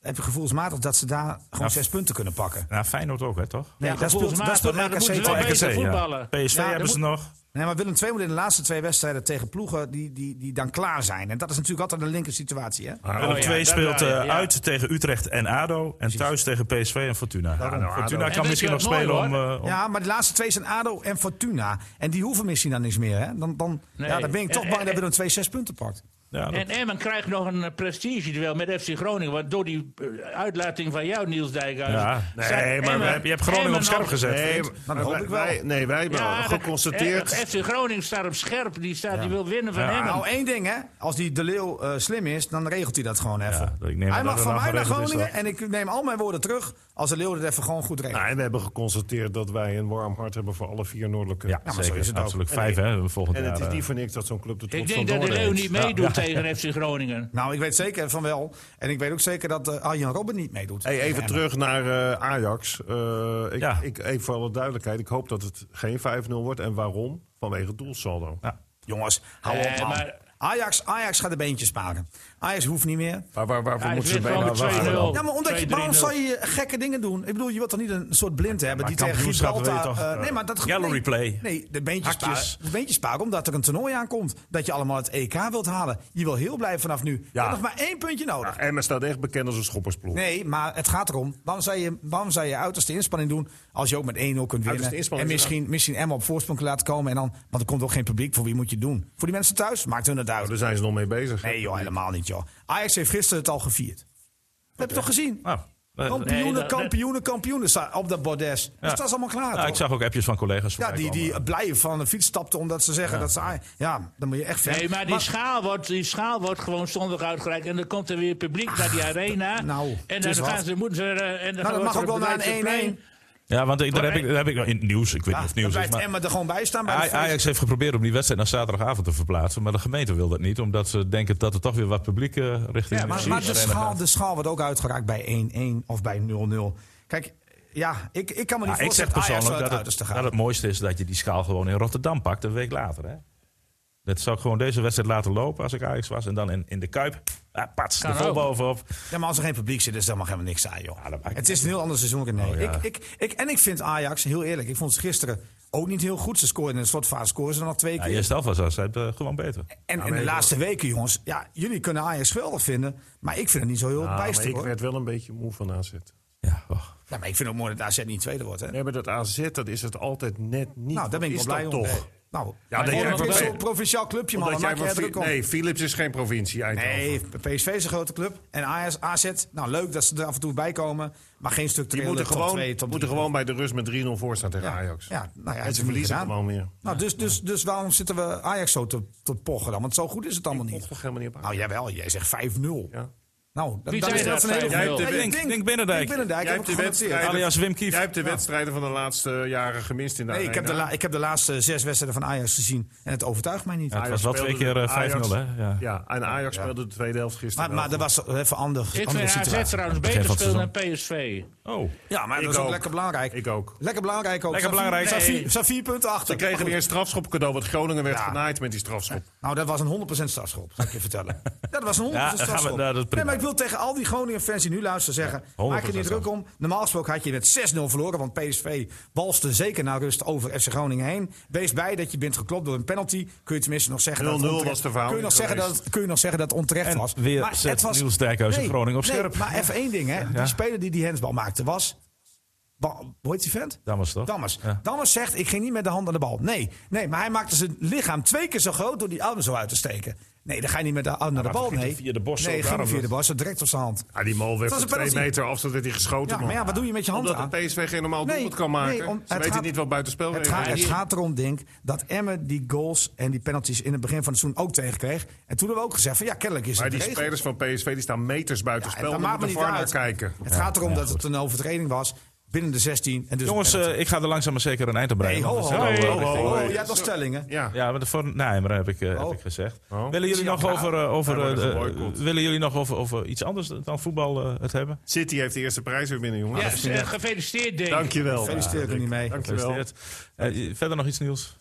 Speaker 2: heb je gevoelsmatig dat ze daar gewoon
Speaker 1: Ja.
Speaker 2: zes punten kunnen pakken.
Speaker 1: Nou, Feyenoord ook, hè, toch?
Speaker 2: Nee,
Speaker 5: Ja,
Speaker 2: daar speelt, daar
Speaker 5: gevoelsmatig,
Speaker 2: speelt
Speaker 5: maar dan moeten
Speaker 2: RKC
Speaker 5: ze
Speaker 2: toch
Speaker 5: wel
Speaker 2: echt-
Speaker 5: weten-
Speaker 1: RKC, ja.
Speaker 5: voetballen.
Speaker 1: PSV
Speaker 2: Ja, er
Speaker 1: hebben ze
Speaker 2: moet-
Speaker 1: nog.
Speaker 2: Nee, maar Willem II moet in de laatste twee wedstrijden tegen ploegen die, die, die dan klaar zijn. En dat is natuurlijk altijd een linker situatie, hè?
Speaker 1: Willem
Speaker 5: ja,
Speaker 1: 2
Speaker 5: daar
Speaker 1: speelt
Speaker 5: draai je,
Speaker 1: eh,
Speaker 5: ja.
Speaker 1: uit tegen Utrecht en ADO. En thuis tegen PSV en Fortuna. Ja,
Speaker 4: nou, ADO.
Speaker 1: Fortuna
Speaker 5: En weet
Speaker 1: kan
Speaker 5: je
Speaker 1: misschien nog
Speaker 5: wat mooi,
Speaker 1: spelen om...
Speaker 5: hoor?
Speaker 1: eh, om-
Speaker 2: Ja, maar de laatste twee zijn ADO en Fortuna. En die hoeven misschien dan niks meer, hè? Dan, dan,
Speaker 5: Nee.
Speaker 2: ja, dan ben ik toch
Speaker 5: En-
Speaker 2: bang
Speaker 5: en-
Speaker 2: dat Willem 2 zes punten pakt.
Speaker 1: ja, dat-
Speaker 5: En Emmen krijgt nog een eh, prestige-duel met FC Groningen. Want door die eh, uitlating van jou, Niels Dijkhuizen...
Speaker 1: Ja.
Speaker 5: zijn
Speaker 4: Nee, maar we
Speaker 5: Emmen-
Speaker 4: hebben-
Speaker 1: Je hebt Groningen
Speaker 5: Emmen
Speaker 1: op scherp
Speaker 5: nog-
Speaker 1: gezet.
Speaker 4: Nee,
Speaker 2: dat hoop
Speaker 4: wij-
Speaker 2: ik wel.
Speaker 4: Wij, nee, wij hebben
Speaker 5: Ja, dat-
Speaker 4: geconstateerd.
Speaker 5: eh, FC Groningen staat op scherp. Die, staat, die wil winnen van
Speaker 1: Ja.
Speaker 5: Emmen.
Speaker 2: Nou, één ding, hè? Als die De Leeuw eh, slim is, dan regelt hij dat gewoon even.
Speaker 1: ik neem
Speaker 2: hij
Speaker 1: aan dat
Speaker 2: mag
Speaker 1: het
Speaker 2: van
Speaker 1: wel
Speaker 2: mij naar
Speaker 1: geregeld is,
Speaker 2: Groningen.
Speaker 1: hoor.
Speaker 2: En ik neem al mijn woorden terug als De Leeuw dat even gewoon goed regelt.
Speaker 4: Nou, en we hebben geconstateerd dat wij een warm hart hebben voor alle vier noordelijke.
Speaker 1: Ja,
Speaker 2: zo
Speaker 1: zeker.
Speaker 2: is het ook.
Speaker 1: Absoluut.
Speaker 4: En
Speaker 1: Vijf,
Speaker 4: ik-
Speaker 1: hè, volgend
Speaker 4: En
Speaker 1: jaar.
Speaker 4: het is
Speaker 1: eh.
Speaker 4: niet voor niks dat zo'n club de trots
Speaker 5: ik
Speaker 4: van
Speaker 5: denk dat de
Speaker 4: Noorden
Speaker 5: Leeuw
Speaker 4: heeft.
Speaker 5: niet meedoet tegen FC Groningen.
Speaker 2: Nou, ik weet zeker van wel. En ik weet ook zeker dat eh, Arjen Robben niet meedoet.
Speaker 4: Hey, even
Speaker 2: En-
Speaker 4: terug naar eh, Ajax. Eh, ik,
Speaker 1: Ja.
Speaker 4: ik, even voor alle duidelijkheid. Ik hoop dat het geen 5-0 wordt. En waarom?
Speaker 1: Nou,
Speaker 4: Vanwege het doelsaldo.
Speaker 2: Jongens, hou
Speaker 5: Eh,
Speaker 2: op, man.
Speaker 5: maar-
Speaker 2: Ajax, Ajax gaat de beentjes sparen. Ajax hoeft niet meer.
Speaker 6: Maar waar, waarvoor
Speaker 5: Hij
Speaker 6: moeten ze
Speaker 5: wint
Speaker 6: bijna
Speaker 5: gewoon met
Speaker 6: wachten
Speaker 5: 2-0.
Speaker 1: Oh,
Speaker 6: dan?
Speaker 2: Ja, maar omdat je,
Speaker 5: 2-3-0.
Speaker 2: waarom zou je gekke dingen doen? Ik bedoel, je wilt toch niet een soort blind hebben
Speaker 1: maar
Speaker 2: die tegen
Speaker 1: kampioenschap wil je
Speaker 2: Gibraltar...
Speaker 1: toch,
Speaker 2: eh, nee, maar dat...
Speaker 1: gallery
Speaker 2: nee,
Speaker 1: play.
Speaker 2: Nee, de beentjes
Speaker 1: Hakjes.
Speaker 2: sparen, de beentjes sparen omdat er een toernooi aankomt. Dat je allemaal het EK wilt halen. Je wil heel blij vanaf nu. Je
Speaker 6: Ja.
Speaker 2: hebt nog maar één puntje nodig.
Speaker 4: Ja, Emmen staat echt bekend als een schoppersploeg.
Speaker 2: Nee, maar het gaat erom. Waarom zou je, waarom zou je uiterste inspanning doen als je ook met 1-0 kunt winnen?
Speaker 4: Uiterste inspanning
Speaker 2: En misschien, misschien Emma op voorsprong laten komen. En dan, want er komt ook geen publiek. Voor wie moet je het doen? Voor die mensen thuis? Maakt hun het uit.
Speaker 1: dus-
Speaker 4: Daar zijn ze nog mee bezig.
Speaker 2: Nee joh, helemaal niet joh. Ajax heeft gisteren het al gevierd. Dat heb je toch gezien?
Speaker 1: Nou, eh,
Speaker 2: Kampioenen,
Speaker 5: Nee, dat-
Speaker 2: kampioenen, kampioenen sta- op dat bordes. Dus dat is allemaal klaar.
Speaker 1: nou,
Speaker 2: toch?
Speaker 1: ik zag ook appjes van collega's.
Speaker 2: Ja,
Speaker 1: voorbij
Speaker 2: die,
Speaker 1: komen.
Speaker 2: die blij van de fiets stapten omdat ze zeggen dat ze. Aj- Ja, dan moet je echt verder.
Speaker 5: Nee, maar die, schaal wordt, die schaal wordt gewoon zondag uitgereikt. En dan komt er weer publiek naar die arena.
Speaker 2: nou,
Speaker 5: en
Speaker 2: het
Speaker 5: dan
Speaker 2: is wat.
Speaker 5: gaan ze, moeten ze... eh, En dan
Speaker 2: Nou, dat mag ook wel naar een 1-1.
Speaker 1: Ja, want ik, daar, heb ik, daar heb ik wel in het nieuws. Ik weet
Speaker 2: Ja,
Speaker 1: niet of het
Speaker 2: dan
Speaker 1: nieuws is.
Speaker 2: blijft
Speaker 1: Maar Ah,
Speaker 2: Emma er gewoon bij staan. Bij de
Speaker 1: Aj-
Speaker 2: feest.
Speaker 1: Ajax heeft geprobeerd om die wedstrijd naar zaterdagavond te verplaatsen. Maar de gemeente wil dat niet. Omdat ze denken dat er toch weer wat publiek eh, richting
Speaker 2: Ja,
Speaker 1: de
Speaker 2: maar,
Speaker 1: Precies.
Speaker 2: maar de,
Speaker 1: arena
Speaker 2: schaal,
Speaker 1: gaat.
Speaker 2: de schaal wordt ook uitgeraakt bij 1-1 of bij 0-0. Kijk, ja, ik, ik kan me niet
Speaker 1: Nou, ik zeg
Speaker 2: voorstellen dat Ajax wel
Speaker 1: persoonlijk
Speaker 2: Ah, het
Speaker 1: dat
Speaker 2: uiterste
Speaker 1: het,
Speaker 2: gaat.
Speaker 1: dat het mooiste is dat je die schaal gewoon in Rotterdam pakt een week later. Hè? Dat zou ik gewoon deze wedstrijd laten lopen als ik Ajax was. En dan in, in de Kuip, ah, pats, de
Speaker 5: Kan
Speaker 1: vol
Speaker 5: ook.
Speaker 1: bovenop.
Speaker 2: Ja, maar als er geen publiek zit, is dat helemaal helemaal niks saai, joh.
Speaker 1: Ja, dat maakt
Speaker 2: het
Speaker 1: niet
Speaker 2: is een heel ander seizoen. Nee.
Speaker 1: Oh, ja.
Speaker 2: ik, ik, ik, en ik vind Ajax, heel eerlijk, ik vond ze gisteren ook niet heel goed. Ze scoorden in een slotfase, scoren ze nog twee
Speaker 1: Ja,
Speaker 2: keer.
Speaker 1: eerst half was dat eh, gewoon beter.
Speaker 2: En
Speaker 4: Nou,
Speaker 2: in de laatste weken, jongens, ja, jullie kunnen Ajax geweldig vinden, maar ik vind het niet zo heel
Speaker 4: Ah, maar
Speaker 2: bijster,
Speaker 4: ik
Speaker 2: hoor.
Speaker 4: werd wel een beetje moe van AZ.
Speaker 1: Ja, och.
Speaker 2: Ja, maar ik vind het ook mooi dat AZ niet tweede wordt, hè.
Speaker 4: Nee, maar dat AZ, dat is het altijd net niet.
Speaker 2: nou, daar ben ik wel
Speaker 4: Wat
Speaker 2: blij
Speaker 4: is
Speaker 2: om.
Speaker 4: dat
Speaker 2: Nee.
Speaker 4: toch?
Speaker 2: Nou,
Speaker 4: Ja, dat
Speaker 2: Volendam
Speaker 4: jij
Speaker 2: is
Speaker 4: wel-
Speaker 2: zo'n provinciaal clubje, man.
Speaker 4: Omdat
Speaker 2: Daar
Speaker 4: jij
Speaker 2: maak je
Speaker 4: van
Speaker 2: er
Speaker 4: Fi-
Speaker 2: druk om.
Speaker 4: nee, Philips is geen provincie Eindhoven.
Speaker 2: Nee, PSV is een grote club. En AS, AZ, nou leuk dat ze er af en toe bij komen. Maar geen stuk
Speaker 4: Die moeten
Speaker 2: top
Speaker 4: gewoon,
Speaker 2: twee, top
Speaker 4: moeten
Speaker 2: drie.
Speaker 4: gewoon bij de rust met 3-0 voor staan tegen
Speaker 2: Ja,
Speaker 4: Ajax.
Speaker 2: ja, nou ja,
Speaker 4: en
Speaker 2: dat
Speaker 4: ze
Speaker 2: hebben we
Speaker 4: verliezen
Speaker 2: gedaan.
Speaker 4: gewoon weer.
Speaker 2: Nou, dus, dus, dus waarom zitten we Ajax zo te, te pochen dan? Want zo goed is het allemaal
Speaker 4: Mocht
Speaker 2: niet.
Speaker 4: toch helemaal niet op aan.
Speaker 2: Nou jawel, jij zegt 5-0.
Speaker 4: Ja.
Speaker 2: Nou, dat,
Speaker 5: Wie
Speaker 2: dat
Speaker 5: zei
Speaker 2: is
Speaker 5: dat?
Speaker 2: dat een hele
Speaker 5: Jij hebt
Speaker 2: goede-
Speaker 1: de
Speaker 2: Ja,
Speaker 1: Wink- Wink Binnendijk.
Speaker 2: Wink Binnendijk,
Speaker 4: Jij
Speaker 2: heb
Speaker 4: hebt de
Speaker 2: ik genoteerd.
Speaker 4: wedstrijd-
Speaker 1: Alias Wim Kieft.
Speaker 4: Jij hebt de wedstrijden van de laatste jaren gemist in de
Speaker 2: Nee, ik
Speaker 4: arena.
Speaker 2: heb, de la- ik heb de laatste zes wedstrijden van Ajax gezien. En het overtuigt mij niet.
Speaker 1: Ja, het was wel twee
Speaker 4: speelde-
Speaker 1: keer eh, 5-0,
Speaker 4: Ajax-
Speaker 1: hè? Ja.
Speaker 4: Ja, en Ajax speelde de tweede helft gisteren.
Speaker 2: maar, maar dat
Speaker 4: wel
Speaker 2: was even anders.
Speaker 5: Ik
Speaker 2: andere
Speaker 5: vind eh, AZ
Speaker 2: situatie.
Speaker 5: trouwens
Speaker 1: Begin
Speaker 5: beter
Speaker 1: van het
Speaker 5: spelen dan PSV.
Speaker 1: Oh,
Speaker 2: Ja, maar dat
Speaker 4: Ik
Speaker 2: is ook,
Speaker 4: ook.
Speaker 2: lekker belangrijk.
Speaker 4: Ik ook.
Speaker 2: Lekker belangrijk ook.
Speaker 1: Lekker
Speaker 2: Ze staan
Speaker 1: belangrijk.
Speaker 2: vier-
Speaker 1: Nee.
Speaker 2: ze staan vier, punten achter.
Speaker 4: Ze kregen weer een strafschop cadeau, want Groningen werd
Speaker 2: Ja.
Speaker 4: genaaid met die strafschop.
Speaker 2: Nou, dat was een 100% strafschop, zal ik je vertellen. Ja, dat was een 100%
Speaker 1: Ja, dan gaan we-
Speaker 2: strafschop.
Speaker 1: nou, dat is prima.
Speaker 2: nee, maar ik wil tegen al die Groningen-fans die nu luisteren zeggen...
Speaker 1: 100%
Speaker 2: maak je niet druk om.
Speaker 1: strafschop.
Speaker 2: Normaal gesproken had je met 6-0 verloren... want PSV walste zeker naar rust over FC Groningen heen. Wees bij dat je bent geklopt door een penalty. Kun je tenminste nog zeggen... dat het
Speaker 4: 0-0
Speaker 2: onterecht-
Speaker 4: was de verhouding
Speaker 2: kun je nog zeggen dat het- Kun je nog zeggen dat het onterecht
Speaker 1: En
Speaker 2: was.
Speaker 1: weer zet Niels Dijkhuizen Groningen op
Speaker 2: nee,
Speaker 1: scherp.
Speaker 2: maar even één ding, hè. Die speler die die hensbal maakte was... Ba- Hoe heet die vent?
Speaker 1: Dammers toch?
Speaker 2: Dammers.
Speaker 1: Ja.
Speaker 2: Dammers zegt, ik ging niet met de hand aan de bal. Nee, nee maar hij maakte zijn lichaam twee keer zo groot door die arm zo uit te steken. Nee, dan ga je niet met de hand naar de
Speaker 1: maar
Speaker 2: bal.
Speaker 1: ging
Speaker 2: Nee,
Speaker 1: hij via de dus- borst
Speaker 2: nee
Speaker 1: ook,
Speaker 2: ging hij
Speaker 1: daarom
Speaker 2: via de borst, zo direct op zijn hand.
Speaker 4: Ja, Ah, die mal
Speaker 2: Dat was
Speaker 4: werd van
Speaker 2: een
Speaker 4: twee
Speaker 2: penalty.
Speaker 4: meter afstand werd hij geschoten.
Speaker 2: Ja,
Speaker 4: man.
Speaker 2: maar ja, wat doe je met je hand
Speaker 4: Omdat
Speaker 2: aan?
Speaker 4: de PSV geen normaal
Speaker 2: Nee,
Speaker 4: doelpunt kan maken.
Speaker 2: nee, om-
Speaker 4: Ze
Speaker 2: het
Speaker 4: weten
Speaker 2: gaat-
Speaker 4: niet wat buitenspel
Speaker 2: Het,
Speaker 4: is.
Speaker 2: gaat-
Speaker 4: Ja,
Speaker 2: het
Speaker 4: die-
Speaker 2: gaat erom, Dink, dat Emmen die goals en die penalties in het begin van het seizoen ook tegenkreeg. En toen hebben we ook gezegd van ja, kennelijk is
Speaker 4: Maar
Speaker 2: het
Speaker 4: die
Speaker 2: de regel.
Speaker 4: spelers van PSV die staan meters
Speaker 2: Ja,
Speaker 4: buitenspel.
Speaker 2: dat
Speaker 4: spel.
Speaker 2: maakt me
Speaker 4: moeten
Speaker 2: niet
Speaker 4: VAR naar
Speaker 2: uit.
Speaker 4: kijken.
Speaker 2: Het gaat erom dat het een overtreding was binnen de 16. En dus
Speaker 1: jongens,
Speaker 2: een penalty. Oh,
Speaker 1: eh, ik ga er langzaam maar zeker een eind aan
Speaker 2: hey,
Speaker 1: breien.
Speaker 2: ho,
Speaker 1: want
Speaker 2: ho,
Speaker 1: we zijn
Speaker 2: ho,
Speaker 1: al, eh,
Speaker 2: ho, ho,
Speaker 1: richting-
Speaker 2: ho, jij hebt nog stellingen.
Speaker 4: Oh, Ja.
Speaker 1: Ja, maar de voor Nijmer heb ik, eh, heb
Speaker 2: Oh.
Speaker 1: ik gezegd.
Speaker 4: Oh.
Speaker 1: Willen jullie
Speaker 2: Zie
Speaker 1: nog
Speaker 2: je elkaar.
Speaker 1: over, eh, over,
Speaker 4: Wij worden
Speaker 1: eh,
Speaker 4: geboycott.
Speaker 1: willen jullie nog over, over iets anders dan voetbal eh, het hebben?
Speaker 4: City heeft de eerste prijs weer binnen, jongen.
Speaker 5: Ja,
Speaker 4: Dank
Speaker 5: eh, gefeliciteerd, Dave.
Speaker 4: Dankjewel.
Speaker 2: Feliciteer ik er niet mee.
Speaker 4: Dankjewel.
Speaker 1: Gefeliciteerd. Eh, verder nog iets nieuws?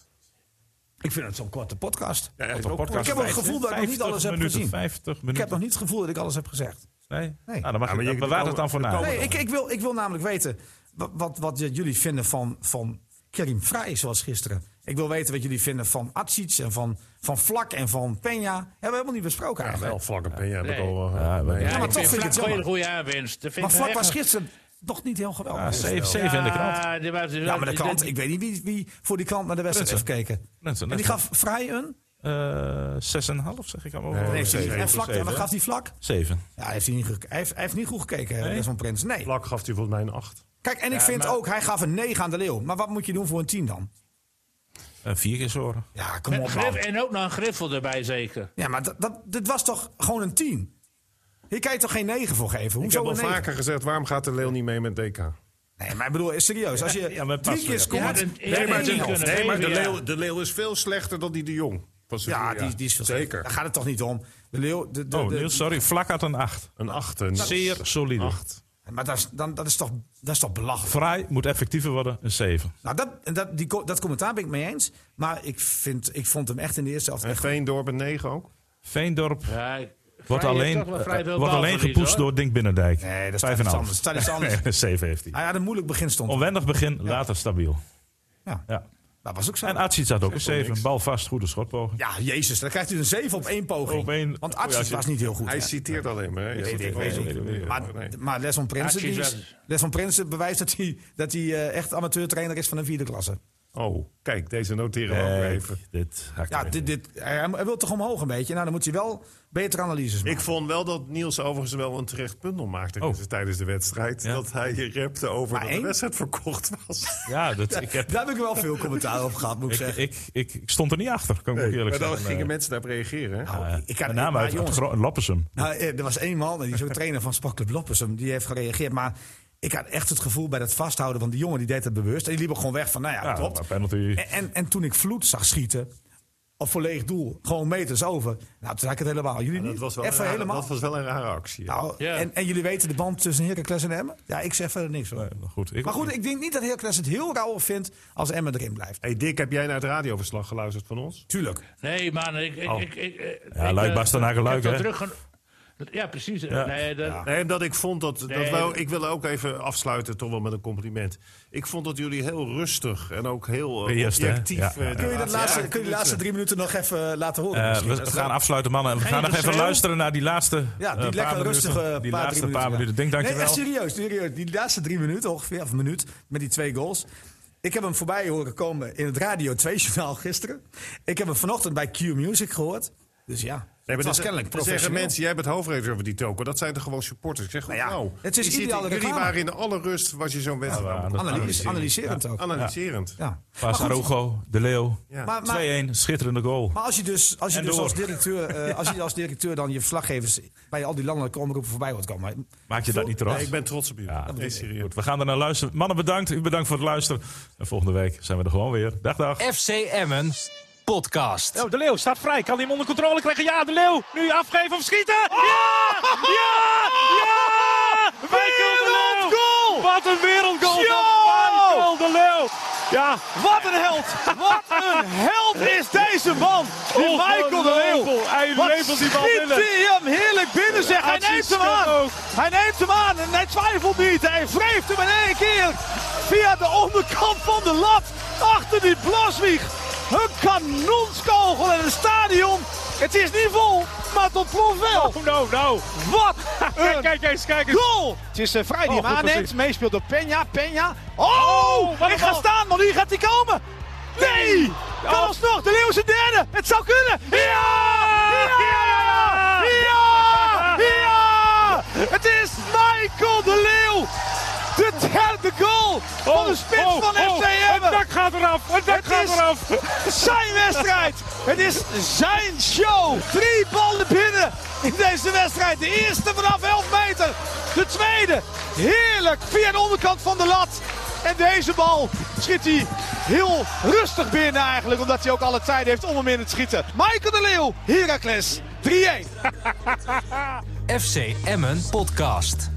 Speaker 2: Ik vind het zo'n korte podcast.
Speaker 4: Ja, echt
Speaker 1: Op
Speaker 4: ook.
Speaker 1: de podcast.
Speaker 2: Ik heb ook het gevoel dat ik nog niet
Speaker 1: 50
Speaker 2: alles heb
Speaker 1: minuten,
Speaker 2: gezien.
Speaker 1: 50 minuten.
Speaker 2: Ik heb nog niet het gevoel dat ik alles heb gezegd.
Speaker 1: Nee?
Speaker 2: Nee.
Speaker 1: Nou, dan mag
Speaker 4: Ja, maar
Speaker 1: je,
Speaker 4: je-
Speaker 1: bewaar
Speaker 4: er
Speaker 1: het dan voor
Speaker 4: komen- er
Speaker 1: na.
Speaker 4: komen-
Speaker 2: Nee, ik, ik, wil, ik wil namelijk weten wat, wat, wat jullie vinden van, van Kerim Vrij, zoals gisteren. Ik wil weten wat jullie vinden van Atsic en van, van Vlak en van Peña. Hebben we helemaal niet besproken
Speaker 4: Ja,
Speaker 2: eigenlijk.
Speaker 4: wel vlakken ben je.
Speaker 5: Nee.
Speaker 1: Ja, maar-
Speaker 5: Ja,
Speaker 1: Ja,
Speaker 2: maar
Speaker 5: ik
Speaker 2: toch
Speaker 5: vind
Speaker 2: vind ik het
Speaker 5: Vlak wel
Speaker 2: jammer.
Speaker 5: een goede aanwinst. Dat vind
Speaker 2: maar
Speaker 5: ik
Speaker 2: Vlak
Speaker 5: echt
Speaker 2: was
Speaker 5: een-
Speaker 2: gisteren toch niet heel geweldig.
Speaker 1: Ja, 7, 7 Ah, in de krant.
Speaker 5: Ja, die was-
Speaker 2: Ja, maar de
Speaker 5: dat-
Speaker 2: krant, ik weet niet wie, wie voor die krant naar de wedstrijd heeft gekeken.
Speaker 1: Mensen,
Speaker 2: En die
Speaker 1: mensen.
Speaker 2: gaf Vrij een?
Speaker 1: Eh, 6,5 zeg ik al. over.
Speaker 2: Nee,
Speaker 1: zeven.
Speaker 2: en Vlak, en
Speaker 1: Zeven,
Speaker 2: wat
Speaker 1: hè?
Speaker 2: gaf die Vlak?
Speaker 1: Zeven.
Speaker 2: Ja, hij heeft, hij niet gek- hij heeft, hij heeft niet goed gekeken, Desmond Prins. Nee.
Speaker 4: Vlak gaf hij volgens mij een 8.
Speaker 2: Kijk, en ik vind ook, hij gaf een 9 aan de Leeuw. Maar wat moet je doen voor een 10 dan?
Speaker 1: Eh, vier keer zorgen.
Speaker 2: Ja, kom op, man.
Speaker 5: Grif- en ook nog een griffel erbij, zeker.
Speaker 2: Ja, maar dat, dat, dit was toch gewoon een 10? Hier kan je toch geen 9 voor geven?
Speaker 4: Ik
Speaker 2: Hoezo
Speaker 4: heb al
Speaker 2: een 9?
Speaker 4: vaker gezegd, waarom gaat de Leeuw niet mee met DK?
Speaker 2: Nee, maar ik bedoel, serieus. Als je
Speaker 1: Ja, maar
Speaker 2: drie
Speaker 1: pas
Speaker 2: keer
Speaker 1: weer.
Speaker 2: scoort...
Speaker 5: Ja, dat- ja,
Speaker 2: Nee, maar
Speaker 5: dat-
Speaker 2: de-
Speaker 5: kunnen
Speaker 4: nee, maar de
Speaker 5: geven, ja.
Speaker 4: leeuw, de leeuw is veel slechter dan die de Jong. van
Speaker 2: ja,
Speaker 4: Sevilla.
Speaker 2: die, die is veel
Speaker 4: Zeker.
Speaker 2: Daar gaat het toch niet om. De Leeuw... De, de,
Speaker 1: Oh,
Speaker 2: de-
Speaker 1: Niels, sorry. Vlak had een 8.
Speaker 4: Een 8. Een
Speaker 1: Zeer solide.
Speaker 4: acht.
Speaker 2: maar dat is, dan, dat, is toch, dat is toch belachelijk?
Speaker 1: Vrij moet effectiever worden. Een 7.
Speaker 2: Nou, dat, en dat, die, co- dat commentaar ben ik mee eens. Maar ik, vind, ik vond hem echt in de eerste helft...
Speaker 4: En
Speaker 2: echt-
Speaker 4: Veendorp een 9 ook.
Speaker 1: Veendorp.
Speaker 5: Ja, ik-
Speaker 1: Wordt
Speaker 5: Vrij-
Speaker 1: alleen,
Speaker 5: toch wel vrij veel
Speaker 1: eh, wordt alleen
Speaker 5: balverlies,
Speaker 1: gepoetst
Speaker 5: hoor.
Speaker 1: door Dink Binnendijk.
Speaker 2: Nee, dat is
Speaker 1: Vijf
Speaker 2: iets
Speaker 1: en
Speaker 2: anders. Dat is
Speaker 1: half.
Speaker 2: anders.
Speaker 1: Nee, 7 heeft hij.
Speaker 2: Hij had een moeilijk begin stond.
Speaker 1: Onwendig begin, later stabiel.
Speaker 2: Ja.
Speaker 1: Ja.
Speaker 2: Dat was ook zo.
Speaker 1: En Atsic had ook een 7. Bal vast, goede schotpoging.
Speaker 2: Ja, jezus, dan krijgt u een 7 op één poging.
Speaker 1: Op één-
Speaker 2: Want
Speaker 1: Oh, ja,
Speaker 2: Arts
Speaker 1: zie-
Speaker 2: was niet heel goed.
Speaker 4: Hij
Speaker 2: hè?
Speaker 4: citeert alleen maar. hè? Ja,
Speaker 2: Weet
Speaker 4: dat
Speaker 2: ik,
Speaker 4: is-
Speaker 2: weet ik.
Speaker 4: Nee.
Speaker 2: Maar, maar Les van Prinsen,
Speaker 5: Arts is
Speaker 2: die is-
Speaker 5: wel-
Speaker 2: Les van Prinsen bewijst dat hij, dat hij eh, echt amateurtrainer is van een vierde klasse.
Speaker 4: Oh, kijk, deze noteren we ook
Speaker 1: Kijk,
Speaker 4: even.
Speaker 1: dit hakt
Speaker 2: Ja,
Speaker 1: erin.
Speaker 2: dit, dit, hij, hij wil toch omhoog een beetje? Nou, dan moet hij wel betere analyses maken.
Speaker 4: Ik vond wel dat Niels overigens wel een terecht punt nog maakte
Speaker 1: Oh.
Speaker 4: tijdens de wedstrijd.
Speaker 1: Ja.
Speaker 4: Dat hij repte over
Speaker 2: Maar
Speaker 4: dat
Speaker 2: één?
Speaker 4: de wedstrijd verkocht was.
Speaker 1: Ja, dat, ik, heb,
Speaker 2: Daar heb ik wel veel commentaar op gehad, moet ik
Speaker 1: ik,
Speaker 2: zeggen.
Speaker 1: ik, ik, ik stond er niet achter, kan ik ook eerlijk
Speaker 4: maar dan
Speaker 1: zeggen. Eh,
Speaker 4: gingen mensen daarop reageren.
Speaker 1: Ah,
Speaker 4: hè?
Speaker 2: Nou, ik had-
Speaker 1: Met name
Speaker 2: maar
Speaker 1: uit, uit
Speaker 2: jongens,
Speaker 1: Gro- Loppersum.
Speaker 2: Nou, eh, er was één man, die is ook trainer van Sportclub Loppersum, die heeft gereageerd. Maar ik had echt het gevoel bij dat vasthouden, want die jongen die deed het bewust. En die liep ook gewoon weg van, nou ja,
Speaker 1: Ja,
Speaker 2: klopt. Eh,
Speaker 1: maar penalty.
Speaker 2: En, en, en toen ik Vloed zag schieten, op volledig doel, gewoon meters over. Nou, toen had ik het helemaal. Jullie
Speaker 4: Dat
Speaker 2: niet?
Speaker 4: was, wel een
Speaker 2: even
Speaker 4: rare,
Speaker 2: helemaal.
Speaker 4: dat was wel een rare actie. ja.
Speaker 2: Nou,
Speaker 5: Ja.
Speaker 2: en, en jullie weten de band tussen Heracles en Emmen? Ja, ik zeg verder niks. Hoor.
Speaker 1: Nee, eh, maar goed, ik,
Speaker 2: Maar goed, ik denk niet dat Heracles het heel rauw vindt als Emmen erin blijft.
Speaker 4: hey Dick, heb jij naar het radioverslag geluisterd van ons?
Speaker 2: Tuurlijk.
Speaker 5: Nee, man. Ik, ik, ik, ik, eh,
Speaker 1: Ja,
Speaker 5: ik,
Speaker 1: Luik
Speaker 5: eh,
Speaker 1: Bastenaken
Speaker 5: ik
Speaker 1: Luik,
Speaker 5: heb
Speaker 1: hè?
Speaker 5: dat druk geno- Ja, precies. Nee, dat,
Speaker 4: Nee, omdat ik vond dat. dat
Speaker 5: Nee,
Speaker 4: wel,
Speaker 5: dat-
Speaker 4: ik wil ook even afsluiten, toch wel met een compliment. Ik vond dat jullie heel rustig en ook heel eh,
Speaker 1: Eerst, hè?
Speaker 4: objectief.
Speaker 1: Ja,
Speaker 4: eh,
Speaker 1: ja, ja.
Speaker 4: die
Speaker 2: Kun je, dat laatste,
Speaker 4: ja,
Speaker 2: kun je de laatste drie minuten nog even eh, laten horen?
Speaker 1: Eh,
Speaker 2: misschien?
Speaker 1: we
Speaker 2: Dat is
Speaker 1: gaan
Speaker 2: wel-
Speaker 1: afsluiten, mannen. En we
Speaker 5: Geen
Speaker 1: gaan nog even
Speaker 5: geschreeuw.
Speaker 1: luisteren naar die laatste.
Speaker 2: Ja,
Speaker 1: eh,
Speaker 2: die lekker
Speaker 1: paar
Speaker 2: rustige
Speaker 1: minuten. Die
Speaker 2: paar,
Speaker 1: laatste
Speaker 2: drie
Speaker 1: paar
Speaker 2: ja.
Speaker 1: minuten. Denk dankjewel.
Speaker 2: Nee, eh, echt serieus, serieus. Die laatste drie minuten ongeveer, of een minuut, met die twee goals. Ik heb hem voorbij horen komen in het Radio 2-journaal gisteren. Ik heb hem vanochtend bij Q Music gehoord. Dus ja,
Speaker 4: Nee,
Speaker 2: het was
Speaker 4: maar dat-
Speaker 2: kennelijk
Speaker 4: dan
Speaker 2: professioneel.
Speaker 4: zeggen mensen, jij bent hoofdredacteur over die toko. Dat zijn toch gewoon supporters. Ik zeg, nou,
Speaker 2: ja, het is
Speaker 4: die
Speaker 2: ideale
Speaker 4: zitten- Jullie
Speaker 2: reclame.
Speaker 4: waren in alle rust, was je zo'n wedstrijd. aan het
Speaker 1: dat-
Speaker 2: Analyse,
Speaker 4: analyseren.
Speaker 2: analyserend ook.
Speaker 4: Analyserend.
Speaker 2: Ja. Maar,
Speaker 1: Pas
Speaker 2: goed,
Speaker 1: Arugo, De Leeuw.
Speaker 4: Ja.
Speaker 2: maar, maar,
Speaker 1: 2-1, schitterende goal.
Speaker 2: maar als je dus, als je
Speaker 1: En
Speaker 2: dus
Speaker 1: door.
Speaker 2: als, directeur, eh, als je als directeur dan je verslaggevers bij al die landelijke omroepen voorbij hoort komen.
Speaker 1: Maak je dat niet eraf?
Speaker 4: Nee, ik ben trots op jullie.
Speaker 1: Ja,
Speaker 4: nee, serieus.
Speaker 1: Goed, we gaan er naar luisteren. Mannen, bedankt. U bedankt voor het luisteren. En volgende week zijn we er gewoon weer. Dag, dag.
Speaker 3: FC Emmen podcast.
Speaker 6: Oh, de Leeuw staat vrij. Kan hij hem onder controle krijgen? Ja, de Leeuw. Nu afgeven of schieten. Ja! Ja! Ja! Michael de Leeuw. Wat een wereldgoal van Michael de Leeuw. Ja. Wat een held. Wat een held is deze man. Die Michael de Leeuw. Hij levert Oh, die bal binnen. hem heerlijk binnen zeg. Hij neemt hem aan. Hij neemt hem aan en hij twijfelt niet. Hij wreeft hem in één keer via de onderkant van de lat. Achter die Blaswieg. Een kanonskogel in een stadion. Het is niet vol, maar tot proef wel.
Speaker 7: Oh, nou, nou.
Speaker 6: Wat
Speaker 7: Kijk,
Speaker 6: een
Speaker 7: kijk eens, kijk eens.
Speaker 6: goal! Het is eh, Vrij die
Speaker 7: Oh,
Speaker 6: hem
Speaker 7: goed
Speaker 6: aanneemt.
Speaker 7: precies.
Speaker 6: Meespeelt door Peña. Peña. Oh,
Speaker 7: Oh, wat
Speaker 6: ik
Speaker 7: een
Speaker 6: ga
Speaker 7: bal.
Speaker 6: staan, maar nu gaat hij komen. Nee! Kan
Speaker 7: Oh.
Speaker 6: alsnog. De Leeuw is de derde. Het zou kunnen. Ja! Ja! Ja! Ja! Het is Michael de Leeuw. De derde goal van de spits
Speaker 7: oh,
Speaker 6: van
Speaker 7: oh,
Speaker 6: FC Emmen.
Speaker 7: Het dak gaat eraf, het dak
Speaker 6: Het
Speaker 7: gaat
Speaker 6: is
Speaker 7: eraf.
Speaker 6: zijn wedstrijd. Het is zijn show. Drie ballen binnen in deze wedstrijd. De eerste vanaf 11 meter. De tweede heerlijk via de onderkant van de lat. En deze bal schiet hij heel rustig binnen eigenlijk. Omdat hij ook alle tijd heeft om hem in het schieten. Michael de Leeuw, Heracles. 3-1.
Speaker 3: FC Emmen podcast.